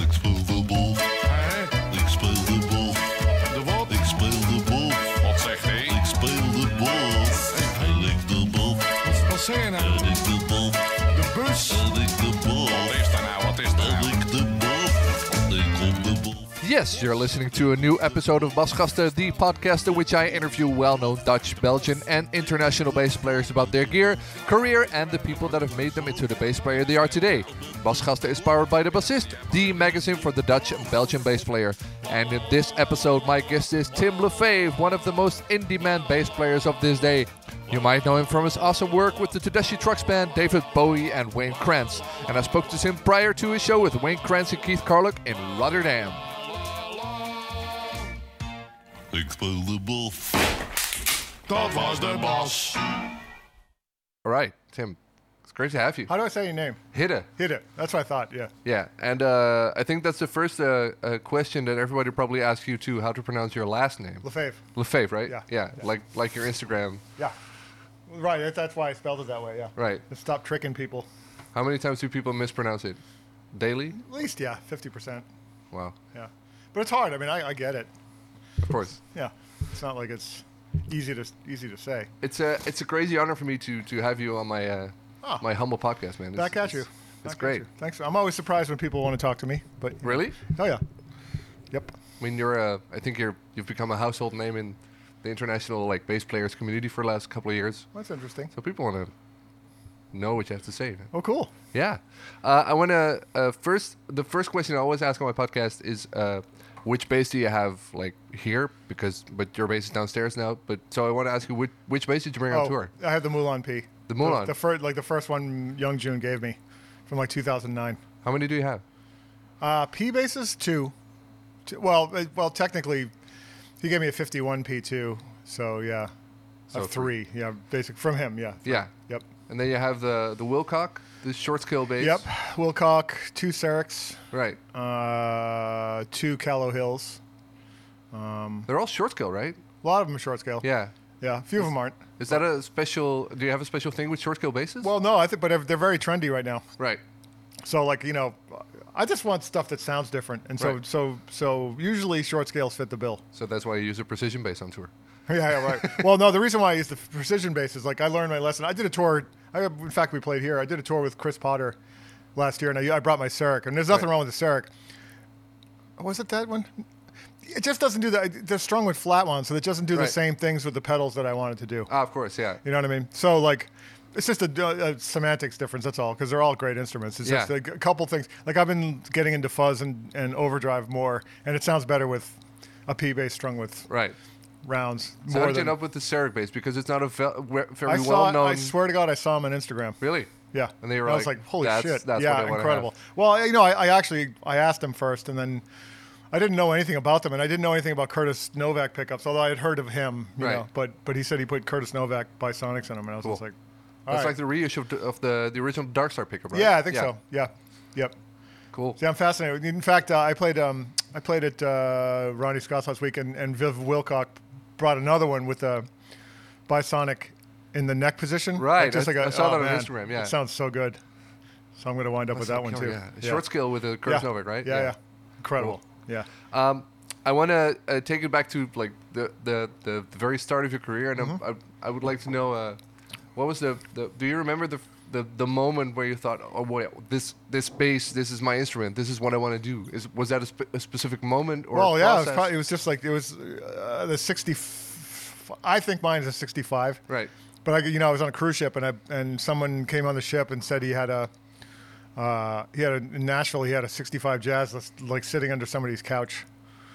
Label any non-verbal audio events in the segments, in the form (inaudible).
speel de wolf. Ik speel de wolf. De wat? Ik speel de wolf. Wat zegt hij? Ik speel de wolf. En ik de wolf. Wat, wat zeg je nou? En ik de wolf. De bus? En ik de Wat wolf. is dat nou? Wat is dat En nou? ik de wolf. Ik kom de wolf. Yes, you're listening to a new episode of Basgaster, the podcast in which I interview well known Dutch, Belgian, and international bass players about their gear, career, and the people that have made them into the bass player they are today. Basgaster is powered by The Bassist, the magazine for the Dutch and Belgian bass player. And in this episode, my guest is Tim Lefebvre, one of the most in demand bass players of this day. You might know him from his awesome work with the Tedeschi Trucks Band, David Bowie, and Wayne Krantz. And I spoke to him prior to his show with Wayne Krantz and Keith Carlock in Rotterdam. Ik speel de wolf. Dat was de bas. All right, Tim. It's great to have you. How do I say your name? Hidde. Hit it. That's what I thought. Yeah. Yeah, and uh, I think that's the first uh, uh, question that everybody probably asks you too: how to pronounce your last name, Lefebvre. Lefebvre, right? Yeah, yeah, yeah. like like your Instagram, Yeah. Right. That, that's why I spelled it that way. Yeah. right? Just stop tricking people. How many times do people mispronounce it? Daily? At least, yeah, 50%. Wow, Yeah. But it's hard. I mean, I, I get it. of course. Yeah. It's not like it's easy to easy to say. It's a it's a crazy honor for me to to have you on my uh, Ah. my humble podcast, man. It's, Back at you. it's- It's Back at great. you. Thanks. I'm always surprised when people want to talk to me. But Really? Oh, yeah. Yep. I mean, you're uh, I think you're you've become a household name in the international like bass players community for the last couple of years. That's interesting. So people want to know what you have to say. man. Oh, cool. Yeah, uh, I want to uh, first. The first question I always ask on my podcast is, uh, which bass do you have like here? Because but your bass is downstairs now. But so I want to ask you which which bass did you bring on tour? Oh, I have the Mulan P. The Mulan. The, first, like the first one Young June gave me from like 2009. How many do you have? Uh, P basis two. Two- Well, uh, well, technically, he gave me a fifty-one P two. So yeah, So a three. Yeah, basic from him. Yeah. Yeah, Yep. and then you have the the Wilcock, the short scale bass. Yep. Wilcock, two Serics, Right. uh, two Callow Hills. They're all short scale, right? A lot of them are short scale. Yeah. Yeah. A few of them aren't. Is that a special? Do you have a special thing with short scale basses? Well, no, I think, but they're very trendy right now. right. So like you know, I just want stuff that sounds different, and so Right. so so usually short scales fit the bill. So that's why you use a precision bass on tour. (laughs) Yeah, yeah, right. well, no, the reason why I use the precision bass is like I learned my lesson. I did a tour. I, in fact, we played here. I did a tour with Chris Potter last year, and I, I brought my Seric. And there's nothing Right. wrong with the Seric. Was it that one? It just doesn't do that. They're strung with flat ones, so it doesn't do Right. the same things with the pedals that I wanted to do. Ah, of course. Yeah. You know what I mean? So like, it's just a, a semantics difference. That's all, because they're all great instruments. It's just Yeah. like a couple things. Like I've been getting into fuzz and, and overdrive more, and it sounds better with a P bass strung with Right. rounds So more I ended than. up with the Seric bass because it's not a ve- we- very I saw. well known. I swear to God, I saw him on Instagram. Really? Yeah. And they were I was like, like, "Holy "That's- shit!" that's what I yeah, wanna incredible. Well, you know, I, I actually I asked him first, and then I didn't know anything about them, and I didn't know anything about Curtis Novak pickups, although I had heard of him. You Right. know, but but he said he put Curtis Novak Bisonics in them, and I was just Cool. like, all That's right. like the reissue of the, of the the original Dark Star pickup, right? yeah, I think so. Yeah, yep. Cool. Yeah, I'm fascinated. In fact, uh, I played um, I played at uh, Ronnie Scott's last week, and, and Viv Wilcock brought another one with a bisonic in the neck position. Right, Like, just I- like a- I saw oh, that on man, Instagram, yeah. it sounds so good. So I'm going to wind up with that one too. Yeah. Short scale with a Curtis Novak, right? Yeah, yeah, incredible. Yeah, Um, I want to uh, take it back to like the, the, the, the very start of your career, and Mm-hmm. I'm, I, I would like to know uh, what was the, the do you remember the, the the moment where you thought, oh boy, this this bass, this is my instrument, this is what I want to do? Is was that a, spe- a specific moment or? well, a Oh, yeah, it was, process? probably, it was just like it was uh, the 60. f- I think mine is a 65. right. But I, you know, I was on a cruise ship, and I and someone came on the ship and said he had a, uh, he had a, in Nashville, he had a '65 Jazz that's like sitting under somebody's couch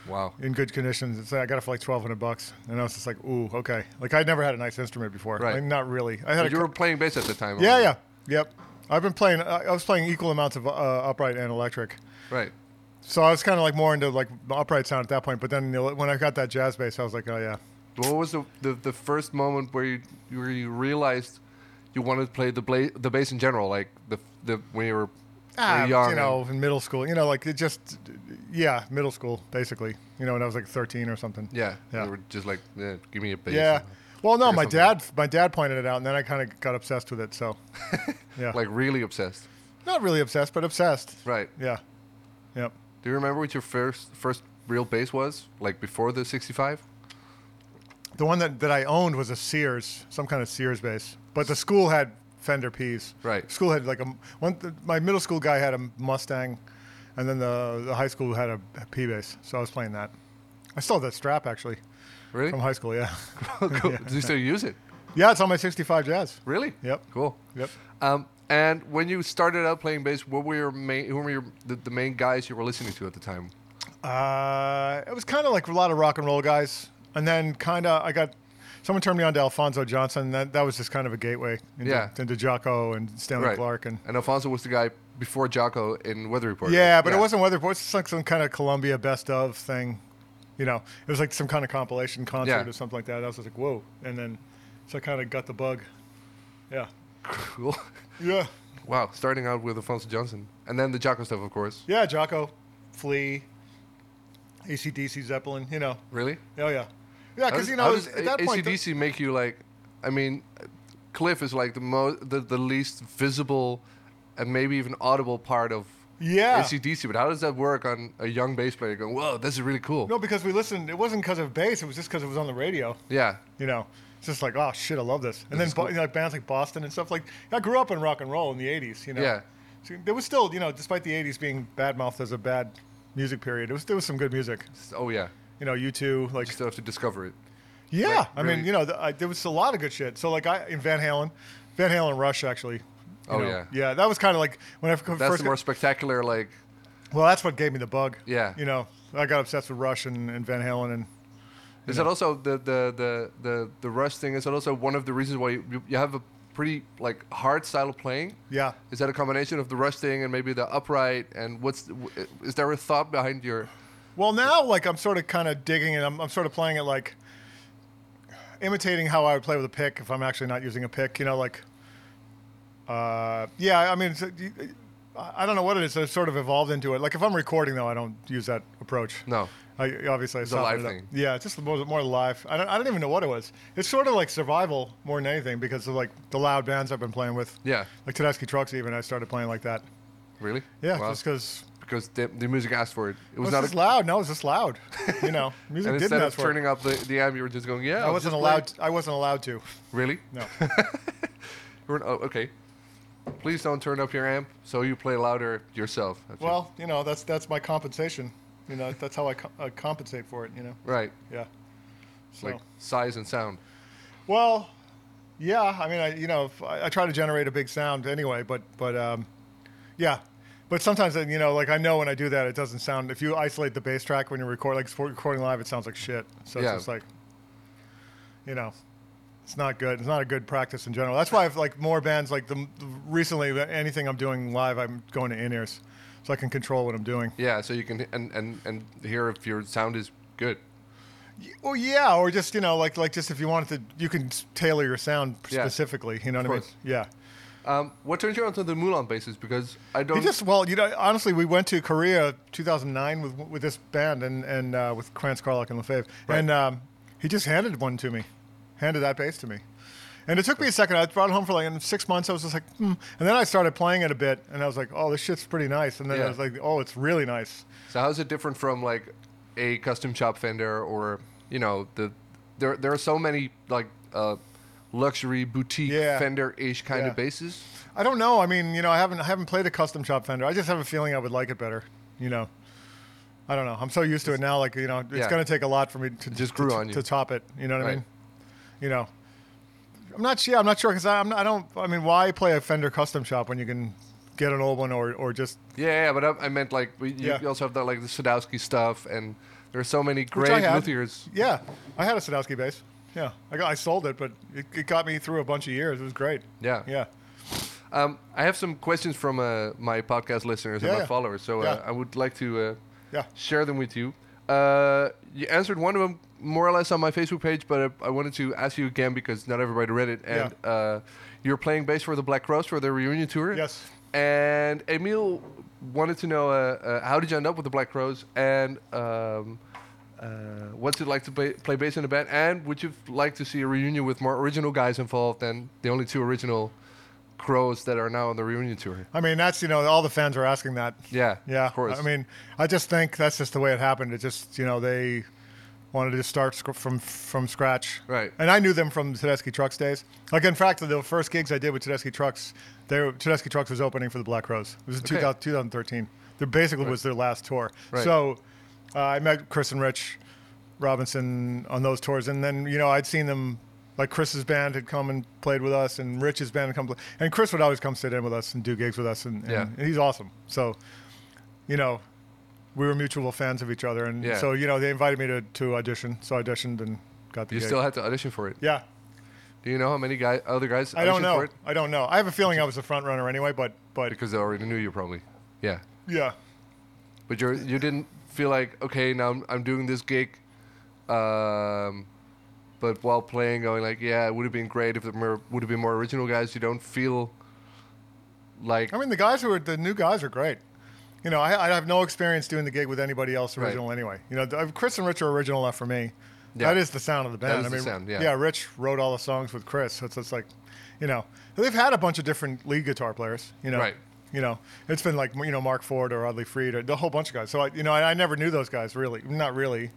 Wow. in good condition. It's like, I got it for like 1,200 bucks, and I was just like, ooh, okay. Like I'd never had a nice instrument before, Right. Like, not really. I had But you a, were playing bass at the time. yeah, already. yeah, yep. I've been playing. I I was playing equal amounts of uh, upright and electric. Right. So I was kind of like more into like the upright sound at that point, but then the- when I got that jazz bass, I was like, oh yeah, What was the, the, the first moment where you where you realized you wanted to play the bla- the bass in general, like the the when you were Ah, very young? you and- know, in middle school, you know, like it just, yeah, middle school, basically, you know, when I was like 13 or something. yeah, Yeah. You were just like, yeah, give me a bass. Yeah. Well, no, Here's my something. dad, my dad pointed it out, and then I kind of got obsessed with it. (laughs) So, yeah, like really obsessed. not really obsessed, but obsessed. Right. Yeah. Yep. Do you remember what your first first real bass was? Like before the 65? The one that, that I owned was a Sears, some kind of Sears bass. But the school had Fender P's. Right. School had like a one. My middle school guy had a Mustang, and then the the high school had a P bass. So I was playing that. I still have that strap actually Really? (laughs) from high school. Yeah. (laughs) cool. Do you still use it? yeah, it's on my '65 Jazz. Really? Yep. Cool. Yep. Um, and when you started out playing bass, what were your main, who were your, the, the main guys you were listening to at the time? Uh, it was kind of like a lot of rock and roll guys, and then kind of I got someone turned me on to Alfonso Johnson. And that that was just kind of a gateway into, Yeah. into Jocko and Stanley Clark and and Alfonso was the guy before Jocko in Weather Report. Yeah, but it wasn't weather report. It's just like some kind of Columbia best of thing. You know, it was like some kind of compilation concert Yeah. or something like that. I was just like, whoa. And then, so I kind of got the bug. Yeah. cool. (laughs) Yeah. wow, starting out with Alfonso Johnson, and then the Jocko stuff, of course. Yeah, Jocko, Flea, ACDC, Zeppelin, you know. Really? Oh, yeah. Yeah, How because, does- you know, how it was- does at that A- point, the- AC/DC make you like? I mean, Cliff is like the most, the, the least visible, and maybe even audible part of Yeah. AC/DC. But how does that work on a young bass player going, "Whoa, this is really cool"? no, because we listened. It wasn't because of bass. It was just because it was on the radio. Yeah, You know, it's just like, oh shit, I love this. And then is bo- cool. you know, like bands like Boston and stuff. Like I grew up in rock and roll in the '80s. You know, Yeah. So there was still, you know, despite the '80s being badmouthed as a bad music period, it was there was some good music. oh yeah. You know, you two, like You still have to discover it. yeah, like, I mean, really- you know, the, I, there was a lot of good shit. So like I in Van Halen, Van Halen, Rush actually. you Oh, know. yeah. yeah. That was kind of like when I f- That's first. the more spectacular, like well, that's what gave me the bug. Yeah. You know, I got obsessed with Rush and, and Van Halen and Is that also the the the the the rush thing? Is that also one of the reasons why you, you have a pretty like hard style of playing? yeah. Is that a combination of the rush thing and maybe the upright? And what's w- is there a thought behind your? Well, now, like, I'm sort of kind of digging it. I'm, I'm sort of playing it like imitating how I would play with a pick if I'm actually not using a pick, you know, like, uh, yeah, I mean, it's, I I don't know what it is. I've sort of evolved into it. Like, if I'm recording, though, I don't use that approach. No, I, obviously, I a live softened it up. thing. Yeah, it's just more, more live. I don't, I don't even know what it was. It's sort of like survival more than anything because of like the loud bands I've been playing with. yeah, Like Tedeschi Trucks, even I started playing like that. really? Yeah, Wow. just because because the, the music asked for it. It it was was not. just A, loud. No, it was just loud. You (laughs) know, music and didn't instead of ask for it. turning up the the amp, you were just going, yeah. I I'll wasn't just play allowed. it." I wasn't allowed to. Really? No. (laughs) You weren't- oh, okay. Please don't turn up your amp, so you play louder yourself. That's your- well, you know, that's that's my compensation. You know, that's how I, co- I compensate for it. You know. right, Yeah. It's So. like size and sound. well, yeah. I mean, I you know, if I, I try to generate a big sound anyway, but but um, yeah. But sometimes, uh, you know, like I know when I do that, it doesn't sound. If you isolate the bass track when you record, like if we're recording live, it sounds like shit. So Yeah. it's just like, you know, it's not good. It's not a good practice in general. That's why I've like more bands like the recently. that Anything I'm doing live, I'm going to in ears, so I can control what I'm doing. Yeah, so you can and and and hear if your sound is good. Well, yeah, or just you know, like like just if you wanted to, you can s- tailor your sound Yeah. specifically. You know what I mean? course. Yeah. Um, what turned you onto the Mulan bases? Because I don't. We just well, you know, honestly, we went to Korea 2009 with with this band and and uh, with Krantz, Carlock, and Lefebvre, Right. and um, he just handed one to me, handed that bass to me, and it took me a second. I brought it home for like in six months. I was just like, hmm. and then I started playing it a bit, and I was like, oh, this shit's pretty nice, and then Yeah. I was like, oh, it's really nice. so how's it different from like a custom shop fender or you know the there there are so many like uh, luxury boutique Yeah. fender ish kind Yeah. of bases. I don't know. I mean, you know, I haven't I haven't played a custom shop fender. I just have a feeling I would like it better. You know, I don't know. I'm so used to it now. Like you know, it's Yeah. going to take a lot for me to just grew to, on you. to top it. You know what I Right. mean? You know, I'm not sure. I'm not sure because I'm not, I don't. I mean, why play a Fender custom shop when you can get an old one or or just Yeah, yeah but I, I meant like we- you, Yeah. you also have that like the Sadowski stuff, and there are so many which I great had. luthiers. Yeah, I had a Sadowski bass. Yeah, I got I sold it, but it, it got me through a bunch of years. It was great. Yeah. Yeah. Um, I have some questions from uh, my podcast listeners Yeah, and my yeah. followers, so uh, Yeah. I would like to uh, Yeah. share them with you. Uh, you answered one of them more or less on my Facebook page, but uh, I, I wanted to ask you again because not everybody read it. And uh, you're playing bass for the Black Cross for their reunion tour. (laughs) Yes. And Emil wanted to know uh, uh, how did you end up with the Black Crows and um, uh, what's it like to play, play bass in a band? And would you like to see a reunion with more original guys involved than the only two original crows that are now on the reunion tour. I mean, that's you know, all the fans are asking that. Yeah, Yeah, of course. I mean, I just think that's just the way it happened. It just you know they wanted to start sc- from from scratch. Right. And I knew them from Tedeschi Trucks days. Like in fact, the first gigs I did with Tedeschi Trucks, they were, Tedeschi Trucks was opening for the Black Rose. It was in Okay. 2000, 2013. There basically was their last tour. Right. So uh, I met Chris and Rich Robinson on those tours, and then you know I'd seen them. Like Chris's band had come and played with us, and Rich's band had come, play, and Chris would always come sit in with us and do gigs with us, and, and Yeah. he's awesome. So you know, we were mutual fans of each other, and Yeah. so you know they invited me to, to audition, so I auditioned and got the. You gig. still had to audition for it. Yeah, Do you know how many guy, other guys I don't auditioned know. for it? I don't know. I have a feeling I was the front runner anyway, but but Because they already knew you probably. Yeah. yeah, But you're you didn't feel like okay now I'm, I'm doing this gig, um, but while playing going like yeah it would have been great if there were, would have been more original guys. You don't feel like I mean the guys who are the new guys are great. You know, I, I have no experience doing the gig with anybody else Right. original anyway. You know, th- Chris and Rich are original enough for me. Yeah. That is the sound of the band. is I the mean, sound, yeah. Rich wrote all the songs with Chris, so it's, it's like, you know, they've had a bunch of different lead guitar players. You know, Right. You know, it's been like you know Mark Ford or Audley Freed or the whole bunch of guys. So I, you know, I, I never knew those guys really. Not really.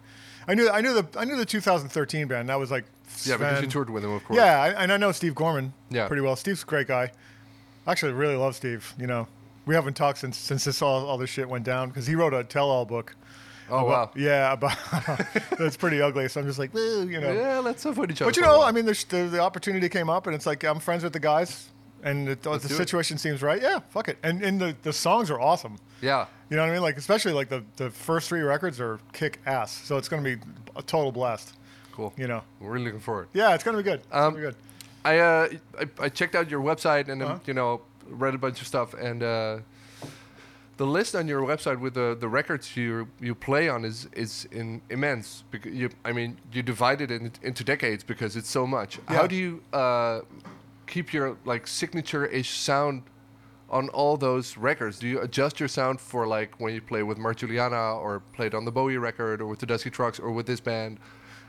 I knew I knew the I knew the 2013 band. That was like yeah because you Sven- toured with them of course yeah, I, and I know Steve Gorman Yeah. pretty well. Steve's a great guy. Actually, I really love Steve. You know, we haven't talked since since this all, all this shit went down because he wrote a tell-all book. oh wow about- Yeah, about (laughs) that's pretty ugly. So I'm just like, "Woo," you know. yeah let's avoid each other But you for a know, while. I mean, there's, the, the opportunity came up, and it's like I'm friends with the guys, and it, the do it. situation seems right. Yeah, fuck it. And and the, the songs are awesome. yeah You know what I mean? Like especially like the the first three records are kick ass. So it's gonna be a total blast. cool You know. we're really looking forward. Yeah, it's gonna be good. It's Um, gonna be good. I, uh, I I checked out your website and Uh-huh. um you know read a bunch of stuff and uh, the list on your website with the, the records you you play on is is in, immense. Because you I mean you divided it in, into decades because it's so much. How Yeah. do you uh, keep your like signature ish sound? On all those records, do you adjust your sound for like when you play with Marjuliana or played on the Bowie record or with the Dusty Trucks or with this band?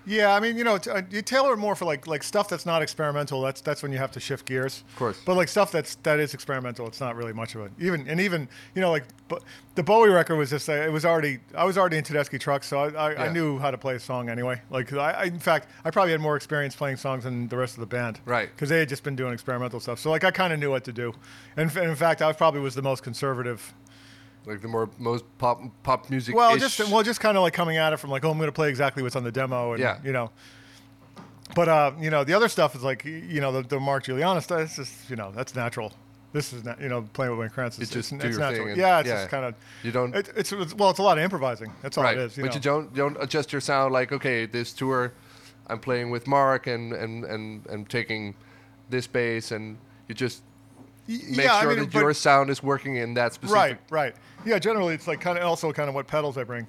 Yeah, I mean, you know, t- uh, you tailor it more for like like stuff that's not experimental. That's that's when you have to shift gears. Of course. But like stuff that's that is experimental, it's not really much of it. Even and even you know like but the Bowie record was just uh, it was already I was already in Tedeschi Trucks, so I, I, Yeah. I knew how to play a song anyway. Like I, I in fact I probably had more experience playing songs than the rest of the band. Right. Because they had just been doing experimental stuff, so like I kind of knew what to do. And, f- and in fact, I probably was the most conservative Like the more most pop pop music. well, just well, just kind of like coming at it from like, oh, I'm going to play exactly what's on the demo, and Yeah. you know. But uh, you know, the other stuff is like, you know, the, the Mark Giuliani stuff. It's just you know, that's natural. This is not, you know, playing with Wayne Krantz. Is, It's just it's, do it's your natural. thing and- yeah, it's yeah. just kind of. You don't- It, it's it's- well, it's a lot of improvising. That's all right. it is. You but know? you don't you don't adjust your sound like okay, this tour, I'm playing with Mark and and and and taking this bass and you just Y- make yeah, I sure mean, that but- your sound is working in that specific. Right, right. Yeah, generally it's like kind of also kind of what pedals I bring.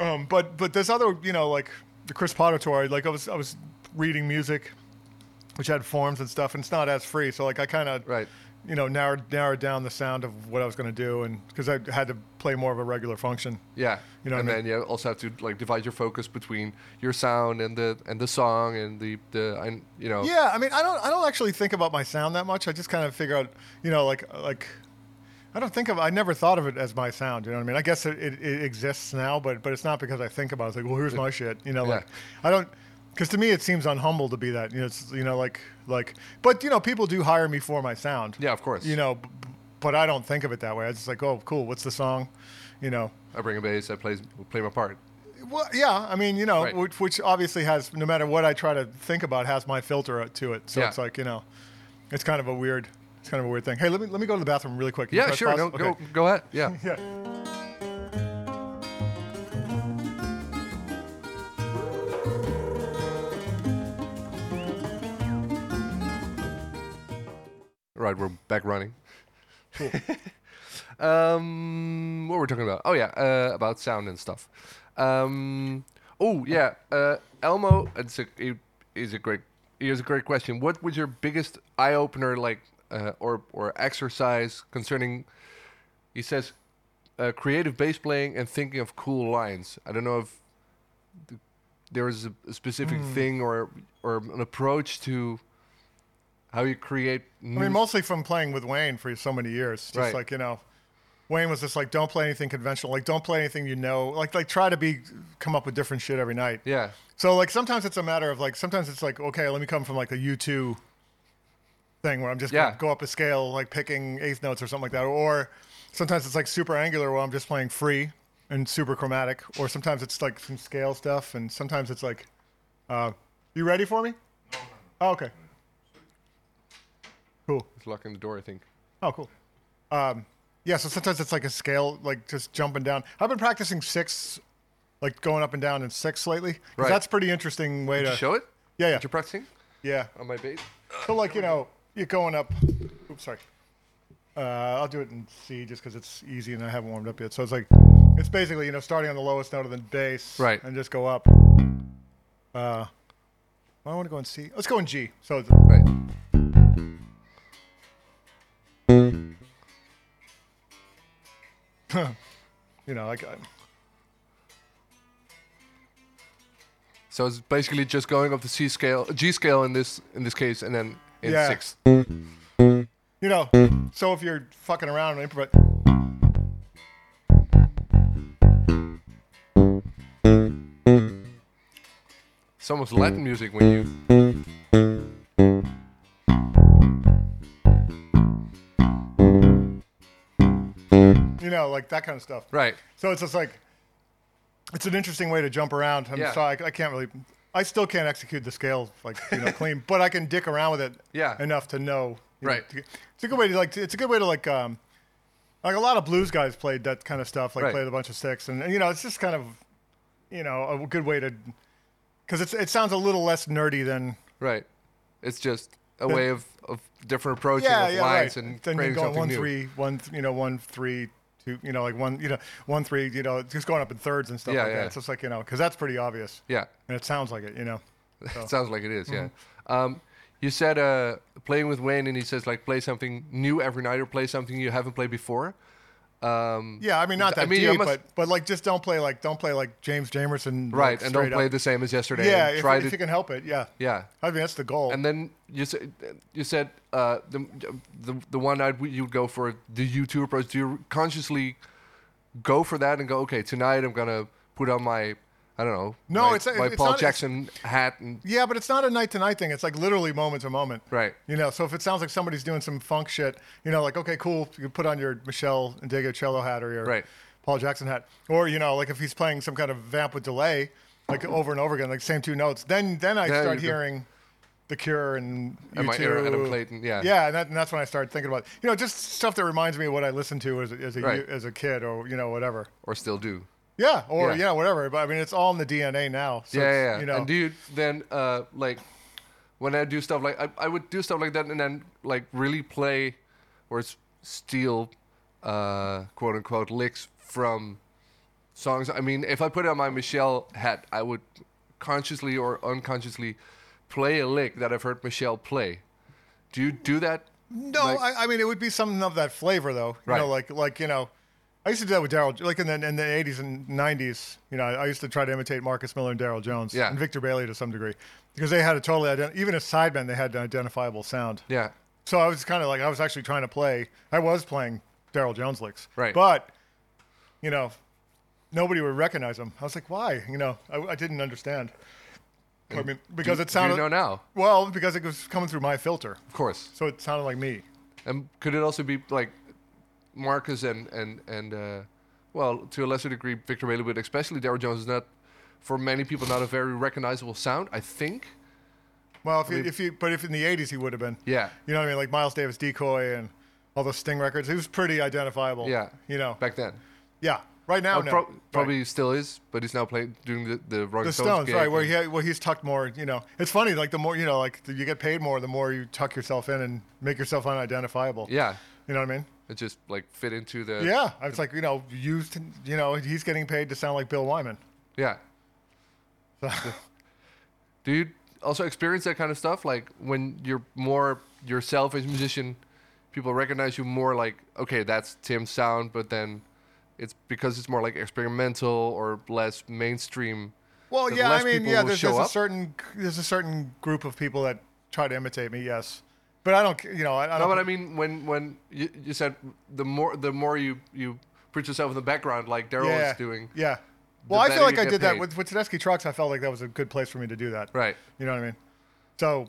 Um, but but this other you know like the Chris Potter tour, like I was I was reading music, which had forms and stuff, and it's not as free. So like I kind of Right. you know narrowed narrowed down the sound of what I was going to do, and because I had to play more of a regular function. Yeah. You know what and I then you also have to like divide your focus between your sound and the and the song and the the and you know Yeah, I mean, I don't, I don't actually think about my sound that much. I just kind of figure out, you know, like, like, I don't think of, I never thought of it as my sound. You know what I mean? I guess it, it, it exists now, but but it's not because I think about it. It's like, well, here's my shit. You know, like, I don't, because to me it seems unhumble to be that. You know, it's, you know, like, like, but you know, people do hire me for my sound. Yeah, of course. You know, b- b- but I don't think of it that way. I just like, oh, cool. What's the song? You know, I bring a bass, I play play my part. well, yeah, I mean, you know, Right. which, which obviously has, no matter what I try to think about, has my filter to it. So Yeah. it's like, you know, it's kind of a weird, it's kind of a weird thing. Hey, let me let me go to the bathroom really quick. Can you Yeah, press sure. pause? No, Okay. go go ahead. (laughs) Yeah. Yeah. Right, we're back (laughs) running. (laughs) um, what were we talking about? Oh yeah, uh, about sound and stuff. Um, oh yeah, uh, Elmo. It's a, it is a great. Here's a great question. What was your biggest eye opener, like, uh, or or exercise concerning? He says, uh, creative bass playing and thinking of cool lines. I don't know if th- Hmm. there is a, a specific thing or or an approach to How you create I new mean, mostly from playing with Wayne for so many years. Just Right. like you know, Wayne was just like, don't play anything conventional. Like, don't play anything you know. Like, like try to be come up with different shit every night. yeah. So like sometimes it's a matter of like sometimes it's like okay, let me come from like a U two thing where I'm just Yeah. gonna go up a scale like picking eighth notes or something like that. Or sometimes it's like super angular where I'm just playing free and super chromatic. Or sometimes it's like some scale stuff, and sometimes it's like, uh, you ready for me? Oh, okay. Cool. It's locking the door, I think. Oh, cool. Um, yeah, so sometimes it's like a scale, like just jumping down. I've been practicing six, like going up and down in six lately. 'cause Right. That's a pretty interesting way to Show it. Yeah, That yeah, you're practicing yeah. on my bass. So like you know, you're going up. Oops, sorry. Uh, I'll do it in C just because it's easy and I haven't warmed up yet. So it's like it's basically you know starting on the lowest note of the bass, Right. and just go up. Uh, I want to go in C. Let's go in G. So it's- Right. you know, like uh, So it's basically just going up the C scale, G scale in this in this case, and then in Yeah. sixth. you know. So if you're fucking around and improv, It's almost Latin music when you. you know, like that kind of stuff. Right. So it's just like, it's an interesting way to jump around. I'm Yeah. sorry, I, I can't really, I still can't execute the scale like (laughs) you know clean, but I can dick around with it Yeah. enough to know. you know, Right. to get- it's a good way to like. It's a good way to like. um like a lot of blues guys played that kind of stuff, like Right. played a bunch of sticks, and, and, you know it's just kind of, you know, a good way to, because it's it sounds a little less nerdy than Right. It's just a way of, of different approaches yeah of yeah lines right. and then you're creating going something one new. three one th- you know one three two you know like one you know one three you know just going up in thirds and stuff Yeah, like yeah. that. It's just like you know because that's pretty obvious. Yeah. (laughs) and it sounds like it, you know. It sounds like it is, Mm-hmm. Yeah. Um, you said uh, playing with Wayne, and he says like play something new every night or play something you haven't played before. Um, Yeah, I mean not I that mean, you deep, must- but but like just don't play like don't play like James Jamerson. Right. like, and don't straight play up. the same as yesterday. Yeah, and if, try if to. you can help it, yeah. yeah. I mean that's the goal. And then you said you said uh, the, the the one night we- you would go for the U two approach. Do you consciously go for that and go okay tonight I'm gonna put on my I don't know No, my, it's- my it's Paul not- it's- Jackson hat and yeah, but it's not a night to night thing. It's like literally moment to moment. right You know, so if it sounds like somebody's doing some funk shit, you know, like okay, cool, you can put on your Michelle Indigo cello hat or your Right. Paul Jackson hat, or you know, like if he's playing some kind of vamp with delay, like over and over again, like same two notes, then then I Yeah, start you go- hearing The Cure and and my era U2. Adam Clayton yeah Yeah, and, that, and that's when I started thinking about you know just stuff that reminds me of what I listened to as a, as a, Right. as a kid or you know whatever. or still do Yeah, or Yeah. yeah. whatever. But I mean, it's all in the DNA now. So yeah, it's, yeah, yeah. You know, and do you then uh, like when I do stuff like I, I would do stuff like that and then like really play or s- steal uh, quote unquote licks from songs. I mean, if I put on my Michelle hat, I would consciously or unconsciously play a lick that I've heard Michelle play. Do you do that? No, Like- I, I mean it would be something of that flavor though. You Right. know, like like you know, I used to do that with Daryl, like in the in the eighties and nineties. You know, I used to try to imitate Marcus Miller and Daryl Jones, Yeah. and Victor Bailey to some degree, because they had a totally ident- even as sidemen they had an identifiable sound. Yeah, So I was kind of like I was actually trying to play. I was playing Daryl Jones licks, Right. But you know, nobody would recognize them. I was like, why? You know, I, I didn't understand. I mean, because it sounded do you know now, well because it was coming through my filter, of course. so it sounded like me. And could it also be like Marcus and and and uh, well, to a lesser degree, Victor Bailey, but especially Daryl Jones is not, for many people, not a very recognizable sound. I think. Well, if, you, if you, but if in the '80s he would have been, Yeah. you know what I mean, like Miles Davis, Decoy, and all those Sting records. He was pretty identifiable. Yeah. you know, Back then. yeah. Right now, Well, Oh. no. pro- Right. Probably still is, but he's now playing doing the the Rolling the Stones, Stones, gig right? Where and- he, where he's tucked more. You know, it's funny. Like the more you know, like the, you get paid more, the more you tuck yourself in and make yourself unidentifiable. yeah, you know what I mean. it just like fit into the Yeah, I was like, you know, you, you know, he's getting paid to sound like Bill Wyman. yeah. (laughs) Do you also experience that kind of stuff? Like when you're more yourself as a musician, people recognize you more like, okay, that's Tim's sound, but then it's because it's more like experimental or less mainstream. Well, that yeah, less I mean, people yeah, will there's, show there's a up? certain there's a certain group of people that try to imitate me, yes, but But I don't, c- you know, I, I No, don't. but I mean when when you, you said the more the more you you put yourself in the background like Daryl yeah, is doing. Yeah. Well, I better feel like you I get did that paid. with with Tedeschi Trucks. I felt like that was a good place for me to do that. Right. You know what I mean? So,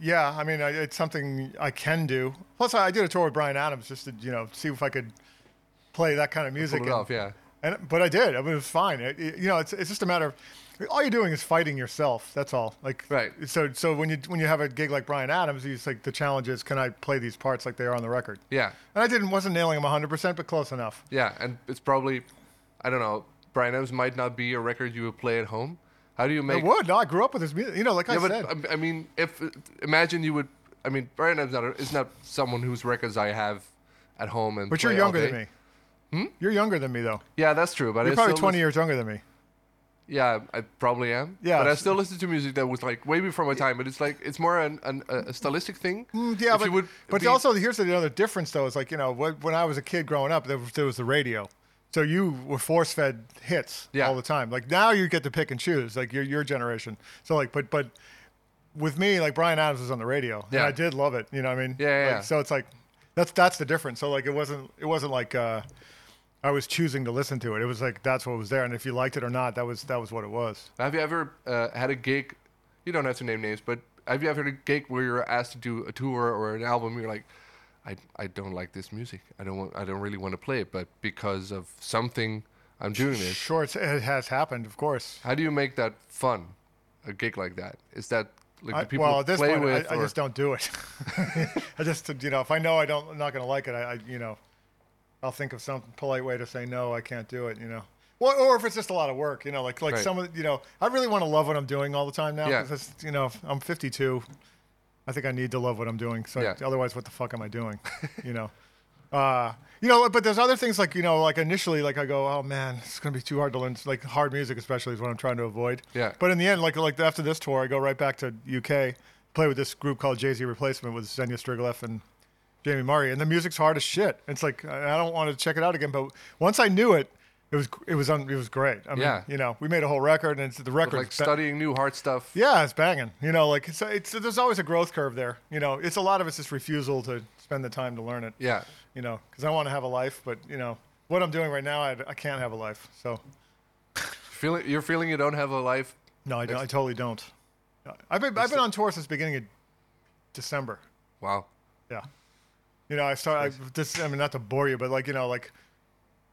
yeah, I mean, I, it's something I can do. Plus, I, I did a tour with Brian Adams just to, you know, see if I could play that kind of music. Pull it and- off, yeah. And but I did. I mean, it was fine. It, it- you know, it's it's just a matter of all you're doing is fighting yourself. That's all. Like Right. So so when you when you have a gig like Brian Adams, he's like the challenge is can I play these parts like they are on the record? Yeah. And I didn't wasn't nailing them 100, percent but close enough. Yeah, and it's probably I don't know, Brian Adams might not be a record you would play at home. How do you I make would. No, I grew up with his music. You know, like Yeah, I but uh, um, said. I- I mean if imagine you would I mean Brian Adams not a, is not someone whose records I have at home and but you're play all younger than day. me. Hmm? You're younger than me though. Yeah, that's true, but You're I probably still 20 listen- years younger than me. Yeah, I probably am. Yeah. but I still listen to music that was like way before my time. But it's like it's more an, an, a a stylistic thing. Mm, Yeah, If but, you would but be- also here's the other difference though. Is like you know wh- when I was a kid growing up, there was, there was the radio, so you were force fed hits Yeah. all the time. Like now you get to pick and choose. Like your your generation. So like but but with me like Brian Adams was on the radio and Yeah. I did love it. You know what I mean? Yeah, yeah, Like, yeah. So it's like that's that's the difference. So like it wasn't it wasn't like. uh I was choosing to listen to it. It was like that's what was there, and if you liked it or not, that was that was what it was. Have you ever uh, had a gig? You don't have to name names, but have you ever had a gig where you're asked to do a tour or an album? You're like, I, I don't like this music. I don't want. I don't really want to play it. But because of something, I'm doing this. Sure, it's, it has happened, of course. How do you make that fun? A gig like that is that like I, the people well, you at this play point, with? I, I or- just don't do it. (laughs) I just, you know, if I know I don't, I'm not going to like it, I, I, you know, I'll think of some polite way to say no, I can't do it. You know, well, or if it's just a lot of work, you know, like like Right. some of, the- you know, I really want to love what I'm doing all the time now. Yeah. 'cause it's- you know, I'm 52. I think I need to love what I'm doing. So Yeah. otherwise, what the fuck am I doing? (laughs) you know. Uh, you know, but there's other things like you know, like initially, like I go, oh man, it's gonna be too hard to learn. Like hard music, especially, is what I'm trying to avoid. Yeah. But in the end, like like after this tour, I go right back to UK, play with this group called Jay Z Replacement with Zenia Striglef and Jamie Murray, and the music's hard as shit. It's like I I don't want to check it out again, but once I knew it, it was it was un, it was great. I mean, Yeah. you know, we made a whole record, and it's, the record like studying new hard stuff. yeah, it's banging. You know, like it's, it's there's always a growth curve there. You know, it's a lot of it's just refusal to spend the time to learn it. Yeah. You know, because I want to have a life, but you know what I'm doing right now, I, I can't have a life. So Feeling you're feeling you don't have a life. no, I, don't, I totally don't. I've been I've been on tour since beginning of December. Wow. Yeah. You know, I start. I, this I mean, not to bore you, but like you know, like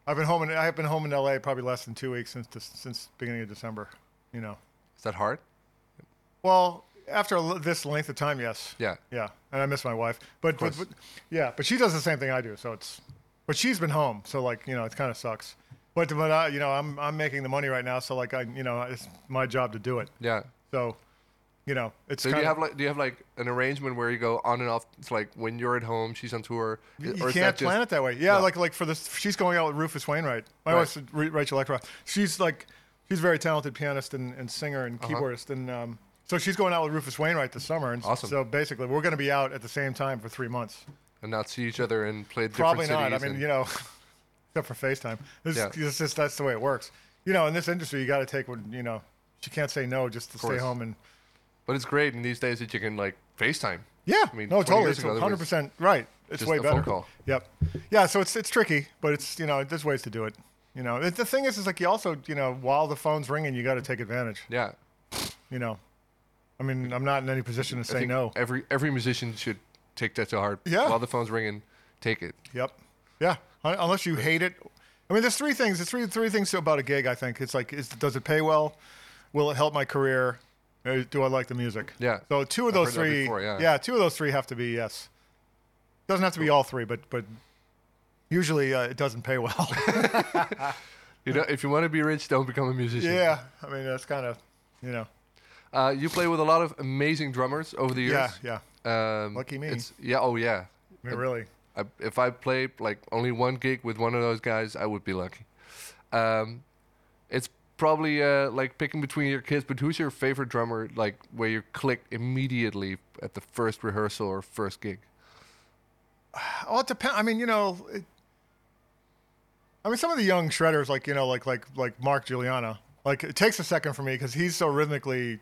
I've been home in I've been home in L.A. probably less than two weeks since this, since beginning of December. You know. Is that hard? Well, after l- this length of time, yes. Yeah. Yeah, and I miss my wife, but, but, course. but yeah, but she does the same thing I do, so it's, but she's been home, so like you know it kind of sucks, but but I, you know I'm I'm making the money right now, so like I you know it's my job to do it, Yeah. so, you know it's So do kind you of have like do you have like an arrangement where you go on and off? It's like when you're at home, she's on tour. you is can't that just- plan it that way. Yeah, No. like like for this, she's going out with Rufus Wainwright. My Right. wife's Ra- Rachel Eckroth. She's like she's a very talented pianist and, and singer and Uh-huh. keyboardist, and um, so she's going out with Rufus Wainwright this summer, and s- Awesome. so basically we're going to be out at the same time for three months. and not see each other and play different Probably cities. not. I mean, and- you know, (laughs) except for FaceTime. This, Yeah. this just that's the way it works. You know, in this industry, you got to take what you know. She can't say no just to stay course. home and but it's great in these days that you can like FaceTime. yeah. I mean, no, 20 totally. years It's ago, there one was- hundred percent right. It's just way a better. phone call. Yep. Yeah. So it's it's tricky, but it's you know there's ways to do it. You know, it, the thing is, is like you also you know while the phone's ringing, you got to take advantage. Yeah. You know, I mean, I'm not in any position to I say think no. Every every musician should take that to heart. Yeah. While the phone's ringing, take it. Yep. Yeah. Un- Unless you hate it. I mean, there's three things. There's three three things about a gig. I think it's like, is, does it pay well? Will it help my career? Uh, Do I like the music? Yeah. So two of I've those heard that three. before, yeah. Two of those three have to be yes. Doesn't have to be all three, but but usually uh, it doesn't (laughs) pay well. (laughs) You know, if you want to be rich, don't become a musician. yeah. I mean, that's kind of, you know. Uh, you play with a lot of amazing drummers over the Yeah. years. Yeah. Yeah. Um, Lucky me. It's, yeah. Oh yeah. I mean, really. I, if I played like only one gig with one of those guys, I would be lucky. Um, it's probably uh, like picking between your kids, but who's your favorite drummer? Like where you click immediately at the first rehearsal or first gig? Oh, it depends. I mean, you know, it, I mean, some of the young shredders, like you know, like like like Mark Giuliano, like it takes a second for me because he's so rhythmically,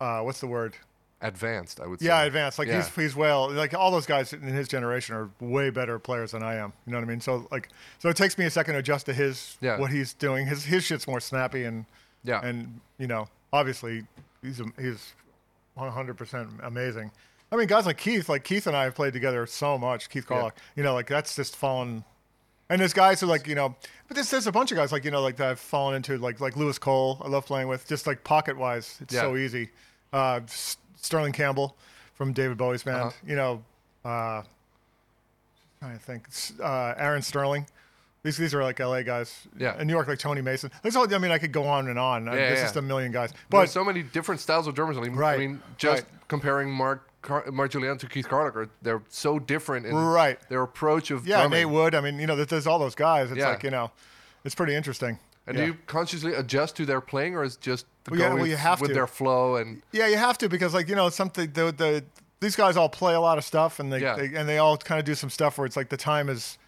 uh, what's the word? advanced. I would say. Yeah, advanced. Like Yeah. he's he's well. Like all those guys in his generation are way better players than I am. You know what I mean? So like, so it takes me a second to adjust to his Yeah. what he's doing. His his shit's more snappy and Yeah. and you know obviously he's am- he's 100 percent amazing. I mean, guys like Keith, like Keith and I have played together so much. Keith Carlock, you know, like that's just fallen. And there's guys who like you know, but there's there's a bunch of guys like you know like that I've fallen into like like Lewis Cole. I love playing with just like pocket wise, it's Yeah. so easy. Uh, S- Sterling Campbell from David Bowie's band, Uh-huh. you know, uh, I think S- uh, Aaron Sterling. These these are like L.A. guys. Yeah. In New York, like Tony Mason. There's all, I mean, I could go on and on. Yeah, Yeah, There's yeah. just a million guys. There's But so many different styles of drummers. I mean, I Right, mean just right. comparing Mark Car- Mark Julian to Keith Carlick, are they're so different in Right. their approach of yeah, drumming. Nate Wood. I mean, you know, there's- there's all those guys. It's Yeah. like you know, it's pretty interesting. and yeah. do you consciously adjust to their playing, or is just Well, yeah, going well, you have with to. their flow and Yeah, you have to because like you know something the the these guys all play a lot of stuff and they, Yeah. they and they all kind of do some stuff where it's like the time is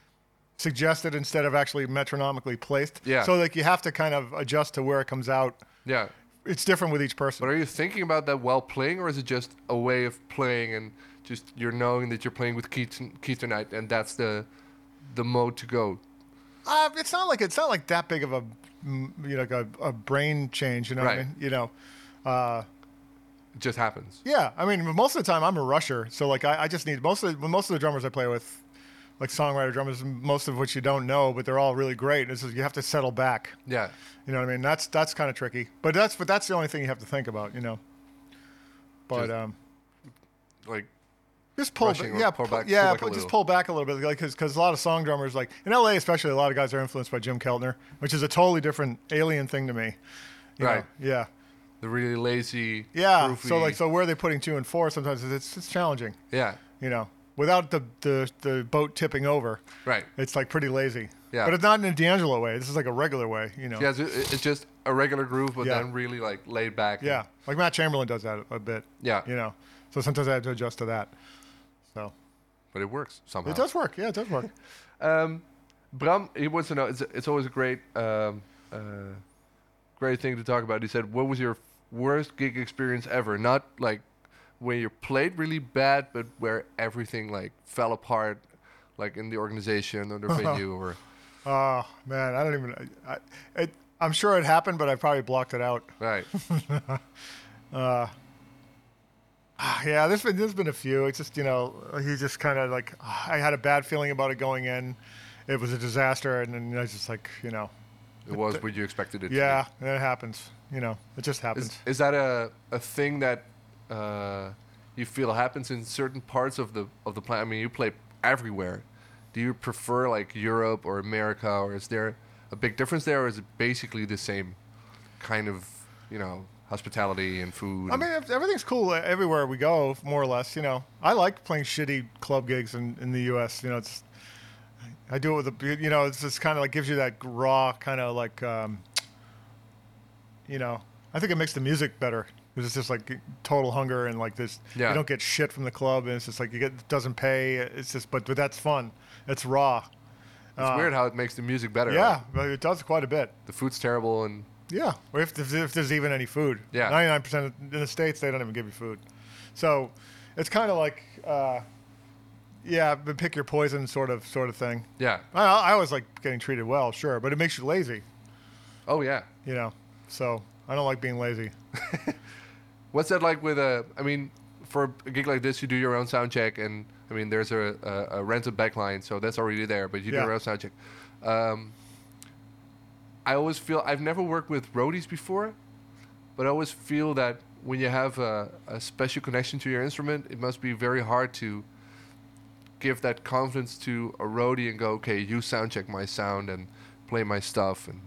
suggested instead of actually metronomically placed. Yeah. So like you have to kind of adjust to where it comes out. yeah? It's different with each person. But are you thinking about that while playing, or is it just a way of playing and just you're knowing that you're playing with Keith, Keith tonight, and that's the the mode to go? Uh, it's not like it's not like that big of a mm, you know like a, a brain change. You know what I Right. mean? You know. It just happens. Yeah, I mean, most of the time I'm a rusher, so like I, I just need most of the, most of the drummers I play with, like songwriter drummers, most of which you don't know, but they're all really great. It's just you have to settle back. Yeah, You know what I mean? That's that's kind of tricky, but that's but that's the only thing you have to think about. You know. But Just- um, like just pull, Rushing ba- or yeah, pull pull- back- yeah, pull back a pull- just little. pull back a little bit, like because a lot of song drummers, like in LA especially, a lot of guys are influenced by Jim Keltner, which is a totally different alien thing to me. You know? Right. Yeah. the really lazy. Yeah. So goofy- like, so where are they putting two and four? Sometimes it's it's challenging. yeah, You know, without the the, the boat tipping over, right. it's like pretty lazy. Yeah. But it's not in a D'Angelo way. This is like a regular way. You know. Yeah, it's, it's just a regular groove, but Yeah. then really like laid back. and- Yeah, like Matt Chamberlain does that a bit. Yeah. you know. So sometimes I have to adjust to that. So but it works somehow. it does work. Yeah, it does work. (laughs) Um, Bram, he wants to know. It's, it's always a great, um, uh, great thing to talk about. He said, "What was your worst gig experience ever? Not like when you played really bad, but where everything like fell apart, like in the organization or the venue, or oh man, I don't even. I, I, it, I'm sure it happened, but I probably blocked it out. right? (sighs) Yeah, there's been there's been a few. It's just you know he just kind of like (sighs) I had a bad feeling about it going in. It was a disaster, and then I was just like you know it was what you expected it. Yeah, to that happens. You know, it just be. happens. Is, is that a a thing that uh, you feel happens in certain parts of the of the planet? I mean, you play everywhere. Do you prefer like Europe or America, or is there a big difference there, or is it basically the same kind of you know hospitality and food? I mean, if- everything's cool e-, everywhere we go, more or less. You know, I like playing shitty club gigs in, in the U.S. You know, it's I do it with a you know, it's just kind of like gives you that raw kind of like, um, you know, I think it makes the music better. 'Cause It's just like total hunger and like this. Yeah. You don't get shit from the club, and it's just like you get it doesn't pay. It's just, but but that's fun. It's raw. it's weird how it makes the music better. uh, Yeah, Like, but it does quite a bit. the food's terrible, and Yeah, or if there's, if there's even any food. Yeah. ninety-nine percent in the states they don't even give you food, so it's kind of like, uh, yeah, but pick your poison sort of sort of thing. yeah. I, I always like getting treated well, sure, but it makes you lazy, Oh yeah. you know. So I don't like being lazy. What's that like with a? I mean, for a gig like this, you do your own sound check, and I mean, there's a, a, a rented backline, so that's already there. But you do Yeah. your own sound check. Um, I always feel I've never worked with roadies before, but I always feel that when you have a, a special connection to your instrument, it must be very hard to give that confidence to a roadie and go, okay, you sound check my sound and play my stuff, and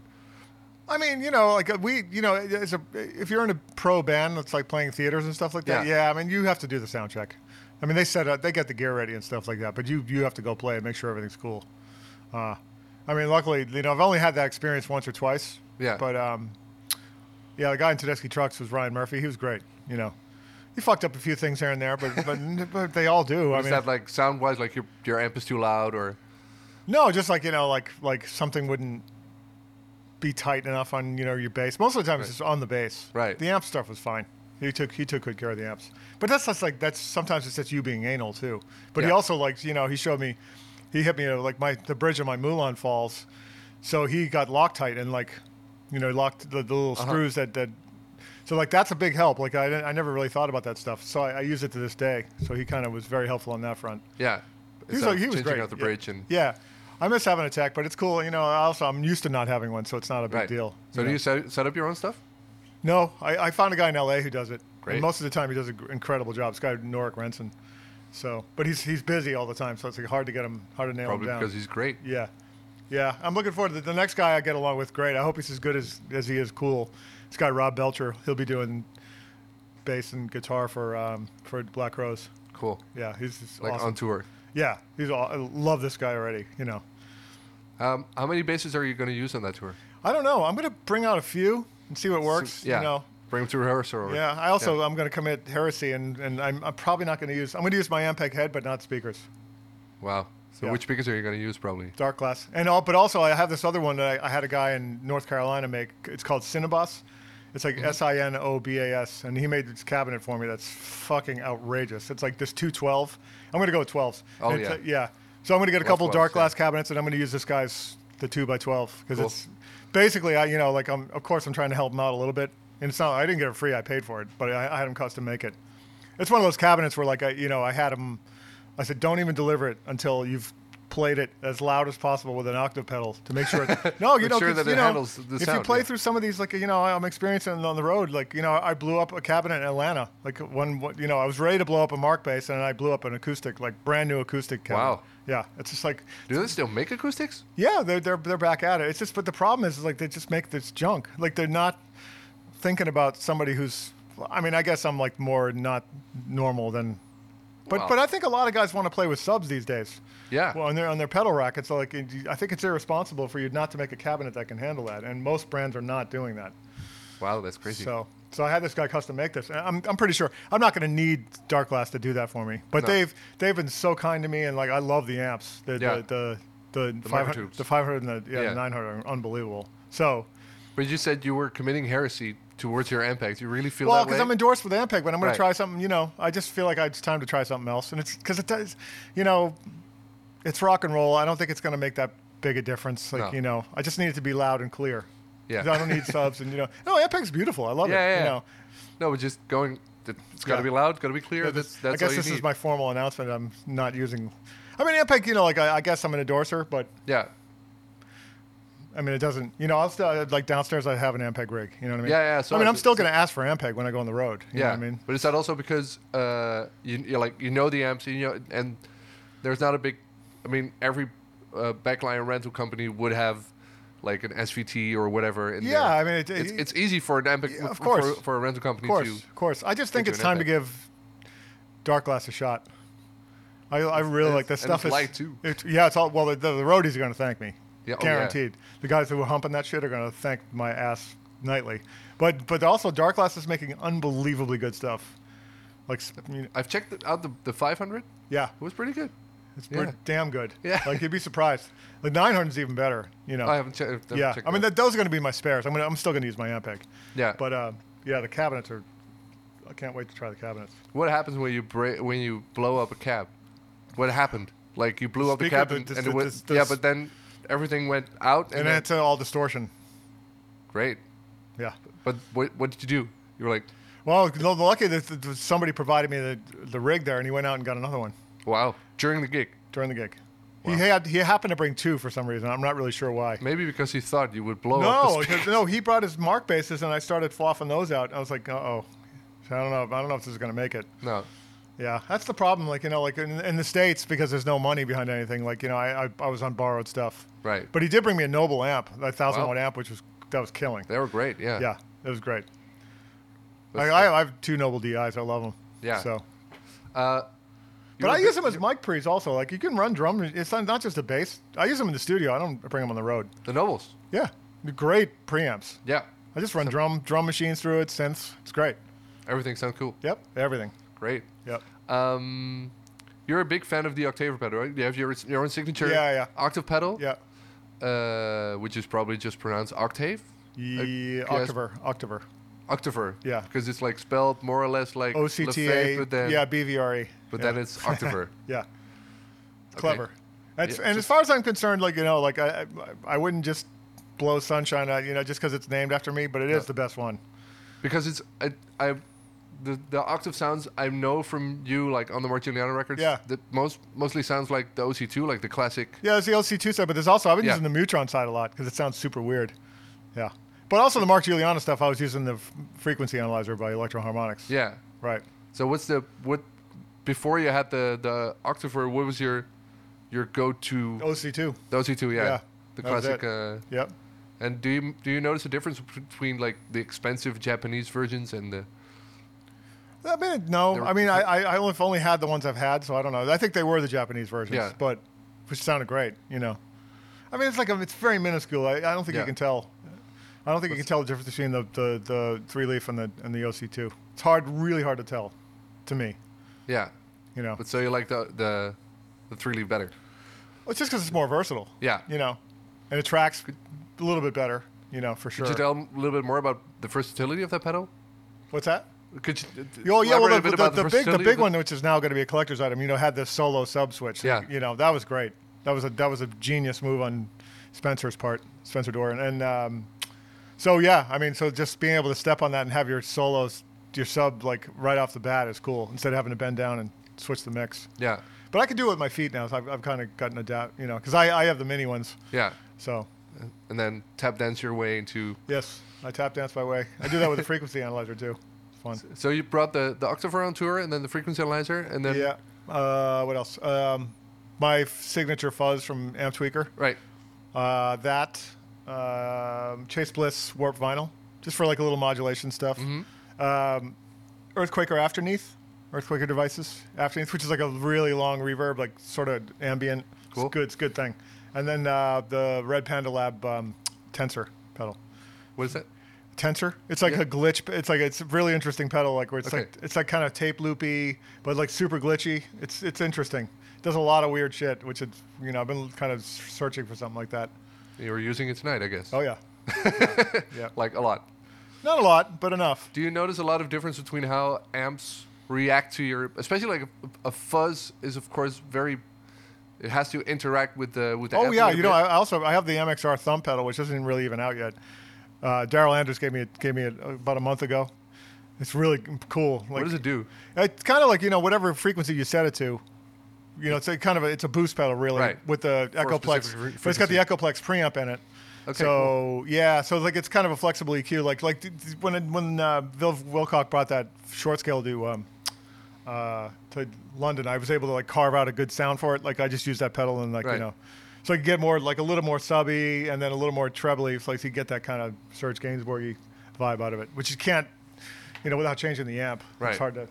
I mean, you know, like uh, we, you know, as a, if you're in a pro band that's like playing theaters and stuff like that, Yeah. yeah. I mean, you have to do the sound check. I mean, they set up, they get the gear ready and stuff like that, but you you have to go play and make sure everything's cool. Uh, I mean, luckily, you know, I've only had that experience once or twice. Yeah. But um, yeah, the guy in Tedeschi Trucks was Ryan Murphy. He was great. You know, he fucked up a few things here and there, but (laughs) but, but they all do. I is mean, that like sound wise, like your your amp is too loud or no, just like you know, like like something wouldn't be tight enough on you know your bass. Most of the time, it's just on the bass. Right. The amp stuff was fine. He took he took good care of the amps. But that's just like that's sometimes it's just you being anal too. But he Yeah. also likes you know he showed me, he hit me uh, like my the bridge on my Mulan Falls, so he got Loctite and like, you know locked the, the Uh-huh. little screws that that. So like that's a big help. Like I, didn't- I never really thought about that stuff. So I, I use it to this day. So he kind of was very helpful on that front. Yeah. He was So like he was changing great. out the Yeah. bridge and yeah, I miss having a tech, but it's cool. You know, I also I'm used to not having one, so it's not a big right. deal. So you do know. you set, set up your own stuff? No, I, I found a guy in LA who does it. Great. And most of the time, he does an incredible job. This guy Norik Renson. So, but he's he's busy all the time, so it's like hard to get him, hard to nail Probably him down. because he's great. yeah, yeah. I'm looking forward to the, the next guy I get along with. Great. I hope he's as good as as he is cool. This guy Rob Belcher. He'll be doing bass and guitar for um, for Black Rose. Cool. Yeah, he's, he's Like awesome. on tour. Yeah, he's aw- I love this guy already. You know. Um, how many bases are you going to use on that tour? I don't know. I'm gonna bring out a few and see what works. yeah. You know. Bring them to rehearsal. Or, Yeah, I also uh, I'm going to commit heresy, and, and I'm, I'm probably not going to use I'm going to use my Ampeg head, but not speakers, Wow. So Yeah. which speakers are you going to use probably? dark glass, and all. But also I have this other one that I, I had a guy in North Carolina make. It's called Cinebus. It's Mm-hmm. like S I N O B A S, and he made this cabinet for me. That's fucking outrageous. It's like this 212. I'm going to go with 12s. Oh, And it's yeah. a- yeah. So I'm going to get a couple 12s, dark yeah. glass cabinets, and I'm going to use this guy's the two by 12 because Cool. it's basically I you know like I'm of course I'm trying to help him out a little bit, and it's not I didn't get it free. I paid for it, but I, I had him custom make it. It's one of those cabinets where like I you know I had him. I said don't even deliver it until you've played it as loud as possible with an octave pedal to (laughs) make sure. It, no, you Make know, sure 'cause, that you it know, handles the if you sound, play yeah. through some of these, like you know, I'm experiencing on the road. Like you know, I blew up a cabinet in Atlanta. Like one, what- you know, I was ready to blow up a Mark bass, and I blew up an acoustic, like brand new acoustic. Cabinet. Wow. Yeah, it's just like Do they still make acoustics? yeah, they're, they're they're back at it. It's just, but the problem is, is like they just make this junk. Like they're not thinking about somebody who's. I mean, I guess I'm like more not normal than, but Wow. but I think a lot of guys want to play with subs these days. Yeah. Well, on their on their pedal rack, it's like it- I think it's irresponsible for you not to make a cabinet that can handle that, and most brands are not doing that. Wow, that's crazy. So so I had this guy custom make this. and I'm I'm pretty sure I'm not going to need Dark Glass to do that for me. But No. they've they've been so kind to me, and like I love the amps. The Yeah. the the the, 500, microtubes. the 500 and the, yeah, Yeah. the 900 are unbelievable. So But you said you were committing heresy towards your Ampex. You really feel well, that way? because I'm endorsed with Ampeg, but I'm going Right. to try something. You know, I just feel like I, it's time to try something else, and it's because it does. You know, it's rock and roll. I don't think it's going to make that big a difference. Like No. you know, I just need it to be loud and clear. Yeah. I (laughs) don't need subs, and you know, no, Ampeg's beautiful. I love Yeah, it. yeah. You know, no, but just going. It's got to Yeah. be loud. Got to be clear. (laughs) Yeah, that's this- that's I guess all you this need. is my formal announcement. I'm not using. I mean, Ampeg. You know, like I, I guess I'm an endorser, but Yeah. I mean, it doesn't. You know, I'll still uh, like downstairs. I have an Ampeg rig. You know what I mean? Yeah, yeah, so I mean, I'm it's- still going to ask for Ampeg when I go on the road. You yeah. Know what I mean, But is that also because uh, you you're like you know the amps, you know, and there's not a big. I mean, every uh, backline rental company would have like an SVT or whatever. In Yeah, there. I mean, it- it's, it- it's easy for an Ampex, Yeah, of for- course. for, for a rental company of course, to. of course. I just think into it's an time to Ampeg. give Dark Glass a shot. I, I really and like this it's- and stuff. it's is- light, too. it- yeah, it's all well. The, the, roadies are going to thank me. Yeah, oh, yeah. guaranteed. The guys who were humping that shit are going to thank my ass nightly. But but also, Dark Glass is making unbelievably good stuff. Like, s- you know, I've checked the- out the, the 500. It yeah, was pretty good. It's pretty Yeah. damn good. Yeah. Like you'd be surprised. The 900's even better. You know. I haven't, che- I haven't yeah. checked. I mean, that. that, those are going to be my spares. I'm gonna, I'm still going to use my Ampeg. Yeah. But uh, yeah, the cabinets are. I can't wait to try the cabinets. What happens when you bra- when you blow up a cab? What happened? Like you blew up the Speaker, cab the- and, this- and it went, this- yeah, this- but then everything went out and, And, then, it's uh, all distortion. great. Yeah. But what what did you do? You were like, Well, l- lucky that th- th- somebody provided me the, the rig there, and he went out and got another one wow, during the gig, during the gig. He had he happened to bring two for some reason. I'm not really sure why. maybe because you thought you would blow up. No, The because- no, he brought his mark bases, and I started fluffing those out. I was like, uh oh, I don't know, I don't know if this is gonna make it. sp- no, Yeah, that's the problem. Like you know, like in, in the states, because there's no money behind anything. Like you know, I, I, I was on borrowed stuff. Right. But he did bring me a noble amp, a thousand Wow. watt amp, which was that was killing. they were great. Yeah, Yeah, it was great. That's Like, I, I have two noble DIs. I love them. Yeah. So. You But were I a use bit- them as mic pre's also. Like you can run drum. It's not, not just a bass. I use them in the studio. I don't bring them on the road. the nobles. Yeah, they're great preamps. Yeah, I just run drum drum machines through it, synths. It's great. everything sounds cool. Yep, everything. Great. Yep. Um, you're a big fan of the octave pedal, right? You have your your own signature. Yeah, yeah. Octave pedal. Yeah. Uh, which is probably just pronounced octave. Ye- yes. Octaver, Octaver. Octaver. Yeah. Because it's like spelled more or less like Lefebvre, OCTA. but then yeah, BVRE. but E. yeah. then it's (laughs) Octaver. Yeah. Clever. That's, Yeah, and as just- far as I'm concerned, like you know, like I, I I wouldn't just blow sunshine out, you know, just because it's named after me. But it is the best one. because it's I, I the the octave sounds I know from you like on the Martiniano records. Yeah. That most mostly sounds like the OC2, like the classic. Yeah, there's the LC2 side, but there's also I've been Yeah. using the Mutron side a lot because it sounds super weird. Yeah, but also the Mark Giuliano stuff. I was using the f- frequency analyzer by Electro Harmonics. Yeah. Right. So what's the what before you had the the octaver? What was your your go to OC2. the OC2? Yeah. yeah, The that was classic. it. Uh, Yep. and do you do you notice a difference between like the expensive Japanese versions and the I mean, no. They're- I mean, I, I I only- only had the ones I've had, so I don't know. I think they were the Japanese versions, Yeah. but which sounded great, you know. I mean, it's like a, it's very minuscule. I, I don't think Yeah. you can tell. I don't think you can tell the difference between the, the, the three leaf and the and the OC two. It's hard, really hard to tell, to me. yeah? You know, But so you like the the the three leaf better. it's just because it's more versatile. Yeah. You know, and it tracks a little bit better. You know, for sure. Could you tell a little bit more about the versatility of that pedal? What's that? Could you uh, Oh yeah, well elaborate the, a bit the, about the big the versatility big of one, which is now going to be a collector's item, you know, had this solo sub switch. Yeah. you know that was great. That was a that was a genius move on Spencer's part, Spencer Doran, and um, so yeah, I mean, so just being able to step on that and have your solos, your sub like right off the bat is cool instead of having to bend down and switch the mix. Yeah, But I can do it with my feet now, so I've, I've kind of gotten adapt, you know, because I, I have the mini ones, yeah, so and then tap dance your way into. yes, I tap dance my way. I do that with (laughs) the frequency analyzer too. It's fun. So you brought the the Octaver on tour, and then the frequency analyzer, and then Yeah. Uh, what else? Um, my f- signature fuzz from Amp Tweaker. right, Uh, that um, Chase Bliss warp vinyl, just for like a little modulation stuff. Um, Earthquaker Afterneath, Earthquaker devices Afterneath, which is like a really long reverb, like sort of ambient. Cool. It's good. It's a good thing. And then uh, the Red Panda Lab um, tensor pedal. what is that? Tensor. It's like Yeah. a glitch. It's like it's a really interesting pedal. Like where it's Okay. like it's like kind of tape loopy, but like super glitchy. It's it's interesting. It does a lot of weird shit, which it's you know I've been kind of searching for something like that. You were using it tonight, I guess. Oh yeah, (laughs) Like a lot. not a lot, but enough. Do you notice a lot of difference between how amps react to your, especially like a, a fuzz is of course very, it has to interact with the with the. Oh amp a yeah, little you know bit. I I also I have the MXR thumb pedal, which isn't really even out yet. Uh, Daryl Andrews gave me it gave me it uh, about a month ago. It's really cool. Like, what does it do? It's kind of like you know whatever frequency you set it to. You know, it's a kind of a, it's a boost pedal really Right. with the For a Echoplex. specific fre- But it's got the frequency. Echoplex preamp in it. Okay, so yeah, so like it's kind of a flexible EQ. Like like th- th- when it- when uh, Bill Wilcock brought that short scale to um, uh, to London, I was able to like carve out a good sound for it. Like I just used that pedal and like Right. you know, so I could get more like a little more subby and then a little more trebly. So like you get that kind of Serge Gainsbourg vibe out of it, which you can't, you know, without changing the amp. Right. It's hard to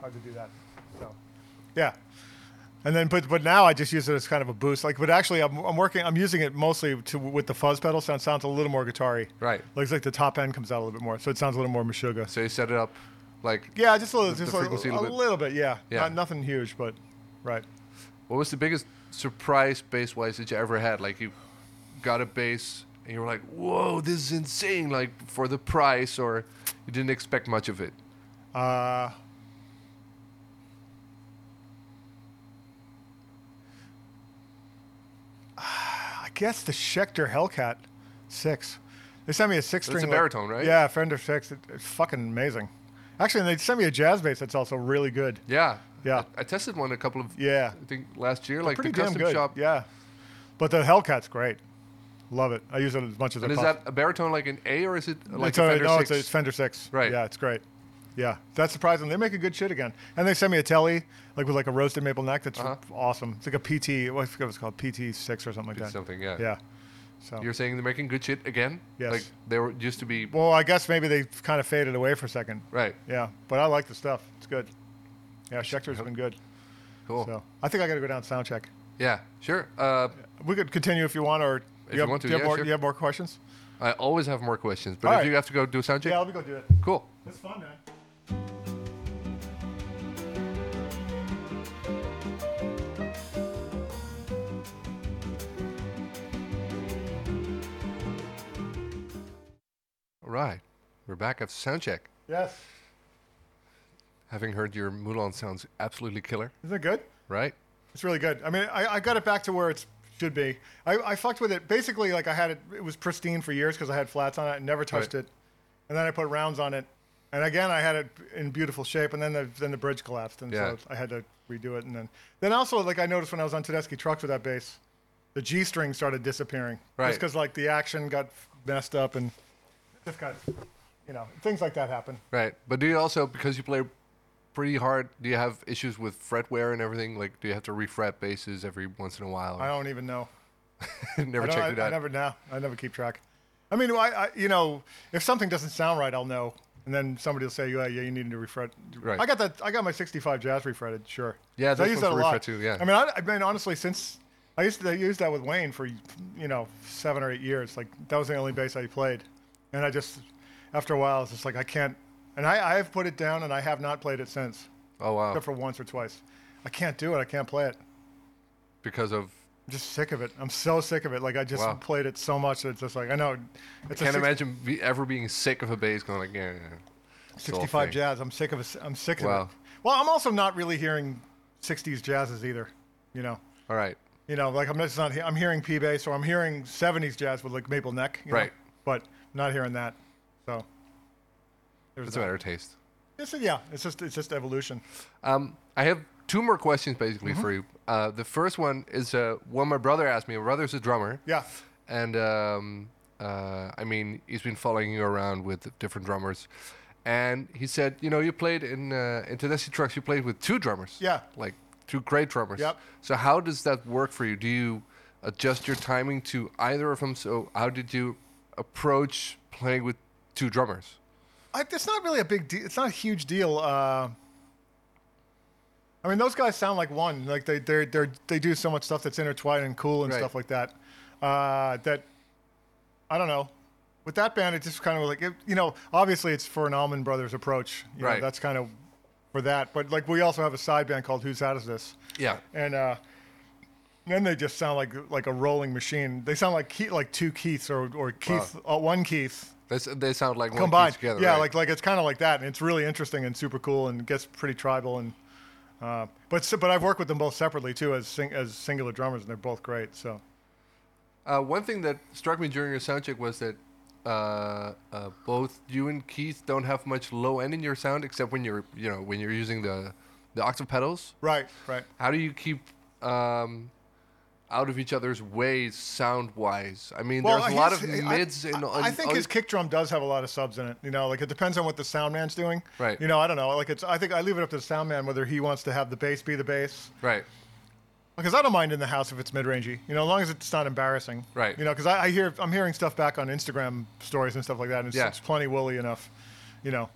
hard to do that. So yeah. And then, but but now I just use it as kind of a boost. Like, but actually, I'm, I'm working. I'm using it mostly to with the fuzz pedal. Sound sounds a little more guitar-y. Right. Like, it's like the top end comes out a little bit more, so it sounds a little more Meshuggah. So you set it up, like Yeah, just a little, The- just the a, frequency a a little bit. little bit. Yeah. Yeah. Not, nothing huge, but right. What was the biggest surprise bass wise that you ever had? Like you got a bass and you were like, "Whoa, this is insane!" Like for the price, or you didn't expect much of it. Uh, I guess the Schecter Hellcat six. They sent me a six string. a baritone, right? Yeah, Fender six. It- it's fucking amazing. Actually, and they sent me a jazz bass that's also really good. Yeah, Yeah. I, I tested one a couple of Yeah. I think last year, like Pretty the damn custom good. shop. Yeah, but the Hellcat's great. Love it. I use it as much as And I is possibly. that a baritone like an A or is it like it's a a- Fender no, six? It's, a, it's Fender Six. Right. Yeah, it's great. Yeah, that's surprising. They make a good shit again, and they sent me a telly like with like a roasted maple neck. That's Uh-huh. awesome. It's like a PT. What I forget what it's called PT Six or something like that. something. Yeah. Yeah. So You're saying they're making good shit again? Yes. Like they were used to be well, I guess maybe they kind of faded away for a second. right. Yeah, but I like the stuff. It's good. Yeah, Schecter's been good. Cool. So I think I got to go down sound check. Yeah. Sure. Uh, We could continue if you want, or you have, want to, do you have yeah, more, sure. you have more questions? I always have more questions, but All if right. you have to go do a sound check, Yeah, let me go do it. cool. It's fun, man. All right. We're back at soundcheck. Yes. Having heard your Mulan sounds absolutely killer, Isn't it good? right? It's really good. I mean, I, I got it back to where it should be. I, I fucked with it. Basically, like I had it, it was pristine for years because I had flats on it and never touched Right. it. And then I put rounds on it. And again, I had it in beautiful shape. And then the, then the bridge collapsed. And Yeah. so I had to redo it. And then, then also, like I noticed when I was on Tedeschi trucks with that bass, the G string started disappearing. Right. Just because like the action got messed up and just got, you know, things like that happen. Right. But do you also, because you play pretty hard, do you have issues with fret wear and everything? Like, do you have to refret basses every once in a while? I don't even know. (laughs) never I don't- checked I, it out. I never now. I never keep track. I mean, I, I you know, if something doesn't sound right, I'll know, and then somebody will say, "Yeah, yeah, you need to refret." Right. I got that. I got my '65 Jazz refretted. Sure. Yeah, So I this use that one's a refret lot too, yeah. I mean, I, I mean, honestly, since I used to use that with Wayne for you know seven or eight years, like that was the only bass I played, and I just after a while, it's just like I can't. And I, I have put it down, and I have not played it since, oh, wow. except for once or twice. I can't do it. I can't play it. because (laughs) of. I'm just sick of it. I'm so sick of it. Like I just Wow. played it so much. that It's just like I know. It's a Can't six- imagine be, ever being sick of a bass going like, yeah, yeah, yeah. It's the whole 65 thing. jazz. I'm sick of it. I'm sick of Wow. it. Well, I'm also not really hearing 60s jazzes either. You know. All right. You know, like I'm just not. he- I'm hearing P bass, or I'm hearing 70s jazz with like maple neck. you know, Right. But not hearing that. So. There's That's a that. better taste. It's- yeah, it's just it's just evolution. Um, I have two more questions basically Mm-hmm. for you. Uh, the first one is uh, one my brother asked me. My brother's a drummer. Yeah. and um, uh, I mean, he's been following you around with different drummers, and he said, you know, you played in uh, in Tedeschi Trucks, you played with two drummers, Yeah. like two great drummers. Yep. So how does that work for you? Do you adjust your timing to either of them? So how did you approach playing with two drummers? I, it's not really a big deal. It's not a huge deal. Uh, I mean, those guys sound like one. Like they they they they do so much stuff that's intertwined and cool and Right. stuff like that. Uh, that I don't know. With that band, it's just kind of like it, you know. Obviously, it's for an Allman Brothers approach. You know, Right. that's kind of for that. But like, we also have a side band called Who's Out Is This? Yeah. and uh, then they just sound like like a rolling machine. They sound like Keith, like two Keiths or or Keith uh, one Keith They, s- they sound like one key combined. together. yeah, right? like like it's kind of like that, and it's really interesting and super cool, and gets pretty tribal and. Uh, but s- but I've worked with them both separately too as sing, as singular drummers, and they're both great. So Uh, one thing that struck me during your soundcheck was that uh, uh, both you and Keith don't have much low end in your sound, except when you're you know when you're using the the octave pedals. right, right. How do you keep um, out of each other's way sound wise? I mean, there's a lot of his- mids I, and I, I think his kick drum does have a lot of subs in it. You know, like it depends on what the sound man's doing. Right. You know, I don't know. Like it's I think I leave it up to the sound man whether he wants to have the bass be the bass. right. Because I don't mind in the house if it's mid rangey, you know, as long as it's not embarrassing, Right. You know, because I, I hear I'm hearing stuff back on Instagram stories and stuff like that, and it's, Yeah. it's plenty woolly enough, you know,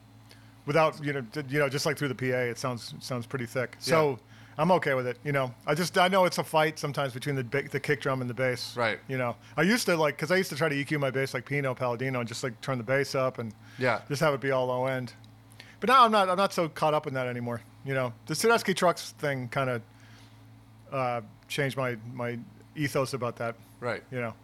without you know, d- you know, just like through the PA, it sounds sounds pretty thick. So Yeah. I'm okay with it, you know. I just I know it's a fight sometimes between the ba- the kick drum and the bass, Right. You know, I used to like because I used to try to EQ my bass like Pino Palladino and just like turn the bass up and Yeah. just have it be all low end. But now I'm not I'm not so caught up in that anymore. You know, the Tedeschi trucks thing kind of uh, changed my my ethos about that. Right. You know,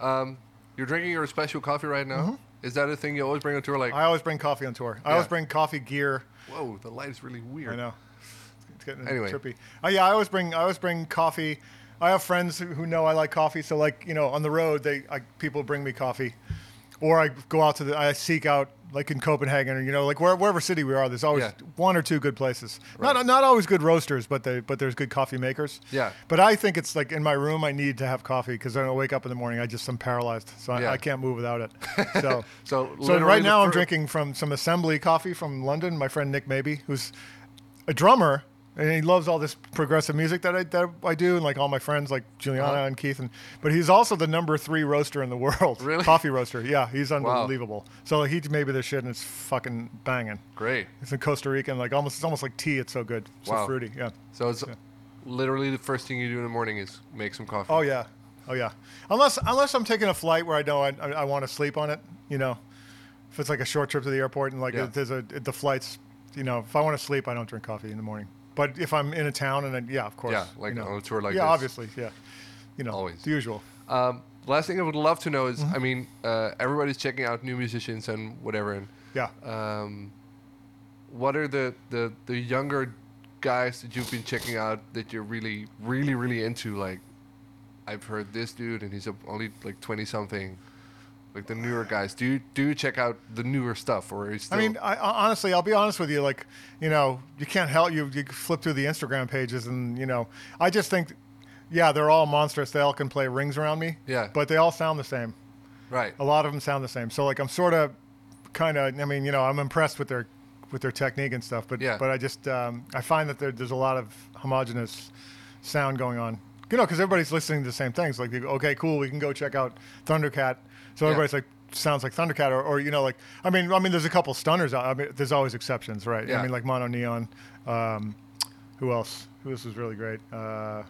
Um, you're drinking your special coffee right now. Is that a thing you always bring on tour? Like, Mm-hmm. I always bring coffee on tour. I Yeah. always bring coffee gear. whoa, the light is really weird. I know it's getting Anyway. trippy. Uh, yeah, I always bring I always bring coffee. I have friends who- who know I like coffee, so like you know, on the road they I, people bring me coffee, or I go out to the I seek out like in Copenhagen or you know like where, wherever city we are. There's always Yeah. one or two good places. Not not always good roasters, but they but there's good coffee makers. Yeah. But I think it's like in my room I need to have coffee because when I wake up in the morning I just I'm paralyzed, so I, Yeah. I can't move (laughs) without it. So So so literally right the now I'm fir- drinking from some assembly coffee from London. My friend Nick Maybe, who's a drummer, and he loves all this progressive music that I that I do, and like all my friends like Juliana Uh-huh. and Keith, and but he's also the number three roaster in the world, (laughs) Really? coffee roaster. Yeah, he's unbelievable. So he made me this shit, and it's fucking banging. Great. It's in Costa Rica, and like almost it's almost like tea. It's so good, so Wow. fruity. Yeah. So it's literally the first thing you do in the morning is make some coffee. Oh yeah, oh yeah. Unless unless I'm taking a flight where I know I I, I want to sleep on it, you know. If it's like a short trip to the airport and like Yeah. there's a the flights, you know, if I want to sleep, I don't drink coffee in the morning. But if I'm in a town and I, yeah, of course, Yeah, like you know. on a tour like yeah, this. obviously, yeah, you know, Always. the usual. Um, last thing I would love to know is, Mm-hmm. I mean, uh, everybody's checking out new musicians and whatever, and Yeah. um, what are the, the the younger guys that you've been checking out that you're really really really into? Like, I've heard this dude and he's only like twenty something. Like the newer guys, do you, do you check out the newer stuff or is I still, mean, I, I- honestly, I'll be honest with you. Like, you know, you can't help you. You flip through the Instagram pages, and you know, I just think, yeah, they're all monstrous. They all can play rings around me. Yeah. But they all sound the same. right? A lot of them sound the same. So like, I'm sort of, kind of. I mean, you know, I'm impressed with their, with their technique and stuff. But Yeah. But I just, um, I find that there, there's a lot of homogenous sound going on. You know, because everybody's listening to the same things. Like, they go, okay, cool, we can go check out Thundercat. So Yeah. everybody's like, sounds like Thundercat, or, or you know, like, I mean, I mean, there's a couple stunners. out- I mean, there's always exceptions, right? Yeah. I mean, like Mono Neon. Um, who else? Who else was really great? Uh,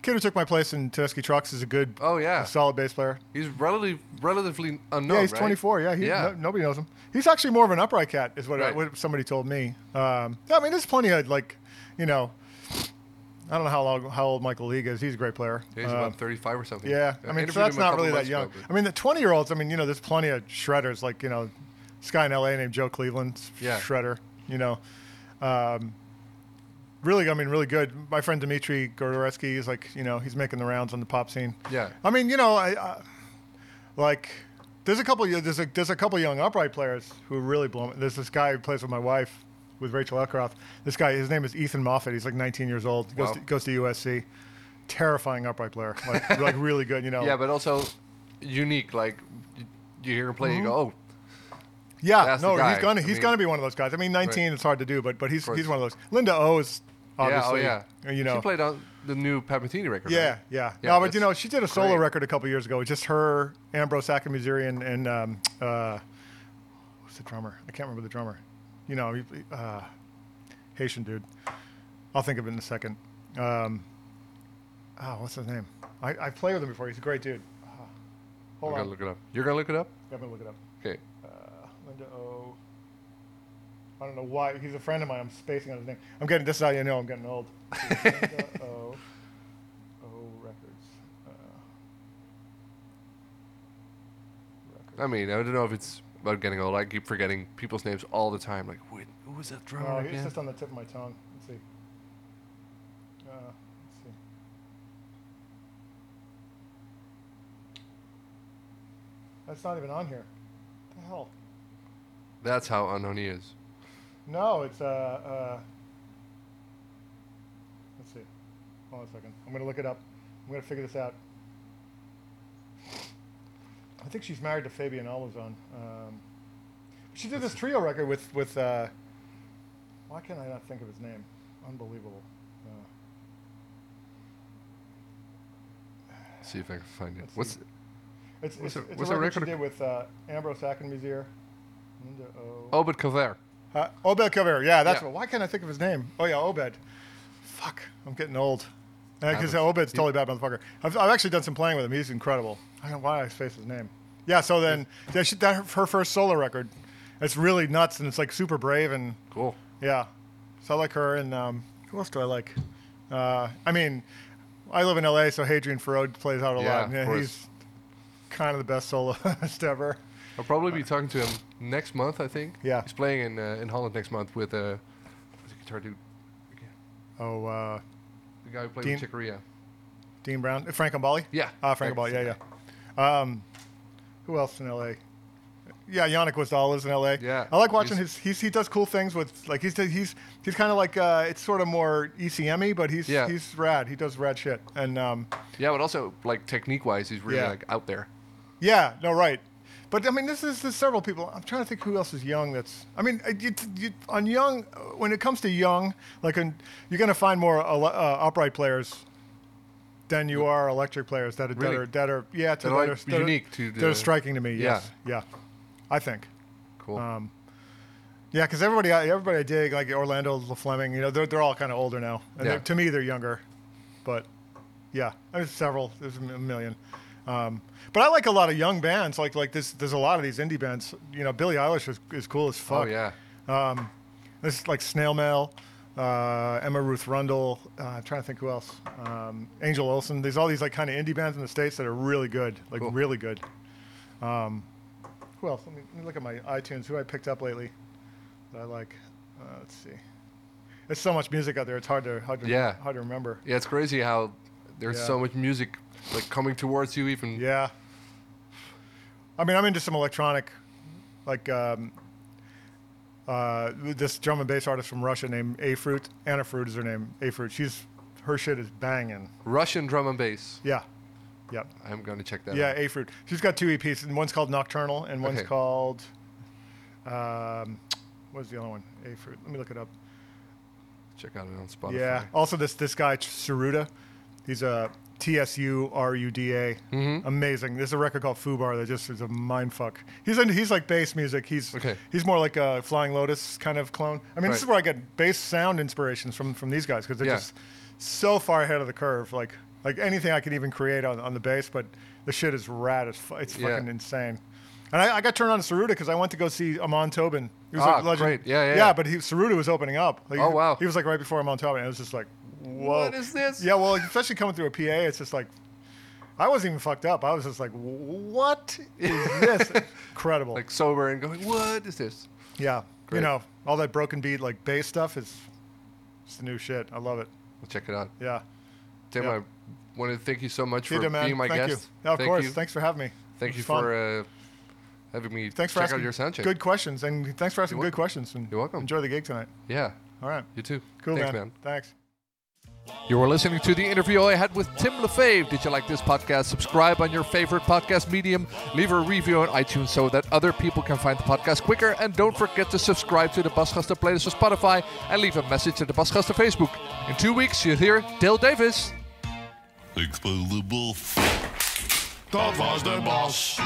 kid who took my place in Tedeschi Trucks is a good, Oh, yeah. a solid bass player. He's relatively relatively unknown. Yeah, he's right? 24. Yeah, he, Yeah. No, nobody knows him. He's actually more of an upright cat, is what, Right. what somebody told me. Um, yeah, I mean, there's plenty of like, you know, I don't know how long, how old Michael League is. He's a great player. Yeah, he's Uh, about 35 or something. yeah, I mean, interviewed so that's him a not couple really that months young. ago, but- I mean, the 20 year olds. I mean, you know, there's plenty of shredders. Like you know, this guy in LA named Joe Cleveland, s- Yeah. shredder. You know, um, really, I mean, really good. My friend Dmitry Gordoreski is like, you know, he's making the rounds on the pop scene. Yeah. I mean, you know, I, I like. There's a couple. There's a there's a couple young upright players who really blow. Me. There's this guy who plays with my wife, with Rachel Eckroth. This guy, his name is Ethan Moffat. He's like 19 years old. He goes Wow. to, goes to USC. Terrifying upright player, (laughs) like like really good. You know. yeah, but also unique. Like you, you hear him play, you go, Mm-hmm. oh, Yeah, That's the no, guy. he's gonna I he's mean- gonna be one of those guys. I mean, 19, it's hard to do, but but he's course. he's one of those. Linda O is obviously, Uh, yeah, oh yeah. you know, she played on the new Patini record. yeah, right? yeah, Yeah, No, but you that's know, she did a solo great. record a couple years ago. It's just her, Ambrose Akamizuri, and and um, uh, who's the drummer? I can't remember the drummer. You know, he- uh, Haitian dude. I'll think of it in a second. Um, oh, what's his name? I I played with him before. He's a great dude. Ah, I'm hold gonna on, look it up. You're gonna look it up? I'm gonna look it up. Okay. Uh, Linda O. I don't know why he's a friend of mine. I'm spacing on his name. I'm getting this is how you know I'm getting old. Linda O. O Records. Uh, I mean, I don't know if it's about getting old. I keep forgetting people's names all the time. Like, wait, who was that drummer? oh, again? it's just on the tip of my tongue. Let's see. Uh, let's see. That's not even on here. What the hell? That's how unknown he is. No, it's uh, uh let's see. Hold on a second. I'm gonna look it up. I'm gonna figure this out. I think she's married to Fabian Almazan. Um, she did this trio record with with. Uh, why can not I not think of his name? Unbelievable. Uh, see if I can find it. Let's What's see. it's What's it's, her- it's what's a her record she record? did with uh, Ambrose Akinmusier. Linda O. Obed Cover? Uh, Obed Cover, yeah, that's Yeah. what. Why can't I think of his name? Oh yeah, Obed. Fuck, I'm getting old. Because Happens. Obed's totally bad motherfucker. I've, I've actually done some playing with him. He's incredible. I don't know why I spaced his name. Yeah, so then that, she, that her first solo record. It's really nuts and it's like super brave and Cool. yeah. So I like her and um, who else do I like? Uh, I mean, I live in LA, so Hadrian Farod plays out a Yeah, lot. of Yeah, course. he's kind of the best (laughs) soloist ever. I'll probably be talking to him next month. I think. Uh, Yeah. He's playing in uh, in Holland next month with uh, what's the guitar dude, again? Oh, uh, the guy who played Dean- with Chicoria. Dean Brown, uh, Frank Ambali. Yeah. Ah, Frank Ambali. Yeah, yeah. Um, who else in L.A.? Yeah, Yannick Wasdal is in L.A. Yeah, I like watching he's- his. He's, he does cool things with like he's he's he's kind of like uh, it's sort of more ECM-y, but he's Yeah. he's rad. He does rad shit. And um, Yeah, but also like technique wise, he's really Yeah. like out there. yeah, no right. But I mean, this is there's several people. I'm trying to think who else is young. That's I mean, uh, you, you, on young uh, when it comes to young, like on, you're gonna find more ele- uh, upright players than you are electric players that are Really? that are, that are yeah to They're, like, that are, that are- unique to that the- are striking to me. Yes, yeah, I think. Cool. Um, yeah, because everybody I, everybody I dig like Orlando LaFleming, you know, they're they're all kind of older now. And Yeah. they're to me, they're younger, but yeah, there's several, there's a million. Um, but I like a lot of young bands, like like this. There's a lot of these indie bands. You know, Billie Eilish is, is cool as oh fuck. yeah. Um, this is like Snail Mail. uh, Emma Ruth Rundle. Uh, I'm trying to think who else. Um, Angel Olsen. There's all these like kind of indie bands in the states that are really good, like really good. Um, who else? Let me, let me look at my iTunes. Who I picked up lately that I like. Uh, let's see. There's so much music out there. It's hard to hard to, Yeah. hard to remember. Yeah, it's crazy how there's Yeah. so much music like coming towards you. Even Yeah. I mean, I'm into some electronic, like um, uh, this drum and bass artist from Russia named Afruit. Anna Fruit is her name. Afruit. She's her shit is banging. Russian drum and bass. Yeah. Yep. I'm gonna check that. Yeah, out. Afruit. She's got two EPs, and one's called Nocturnal, and one's Okay. called um, what is the other one? Afruit. Let me look it up. check out it on Spotify. Yeah. Also, this this guy Saruda, he's a T S U R U D A. Mm-hmm. Amazing. There's a record called Fubar that just is a mind fuck. He's into, he's like bass music. He's Okay. he's more like a Flying Lotus kind of clone. I mean, this Right. is where I get bass sound inspirations from from these guys because they're Yeah. just so far ahead of the curve. Like like anything I could even create on, on the bass, but the shit is rad. As fu- it's Yeah. fucking insane. And I, I got turned on to Saruda because I went to go see Amon Tobin. He was Ah, a legend. great. Yeah, yeah, Yeah, yeah. but he, Saruda was opening up. Like, Oh, wow. He was like right before I'm on top, and it was just like, whoa. What is this? Yeah, well, especially coming through a PA, it's just like, I wasn't even fucked up. I was just like, what (laughs) is this? Incredible. Like sober and going, what is this? yeah. Great. You know, all that broken beat, like bass stuff is, it's the new shit. I love it. We'll check it out. Yeah. Tim, Yeah. I want to thank you so much for Peter, man, being my thank guest. you. Yeah, of thank course. You. Thanks for having me. Thank It you was fun. for uh, having me Thanks for check asking out your sound check. good questions, and thanks for asking You're good questions. And You're welcome. Enjoy the gig tonight. Yeah, All right. you too. Cool, Thanks, man. Thanks. You are listening to the interview I had with Tim LeFave. Did you like this podcast? Subscribe on your favorite podcast medium. Leave a review on iTunes so that other people can find the podcast quicker. And don't forget to subscribe to the Basgaster playlist on Spotify and leave a message at the Basgaster Facebook. In two weeks, you'll hear Dale Davis. Ik speel de bof. Dat was de bas.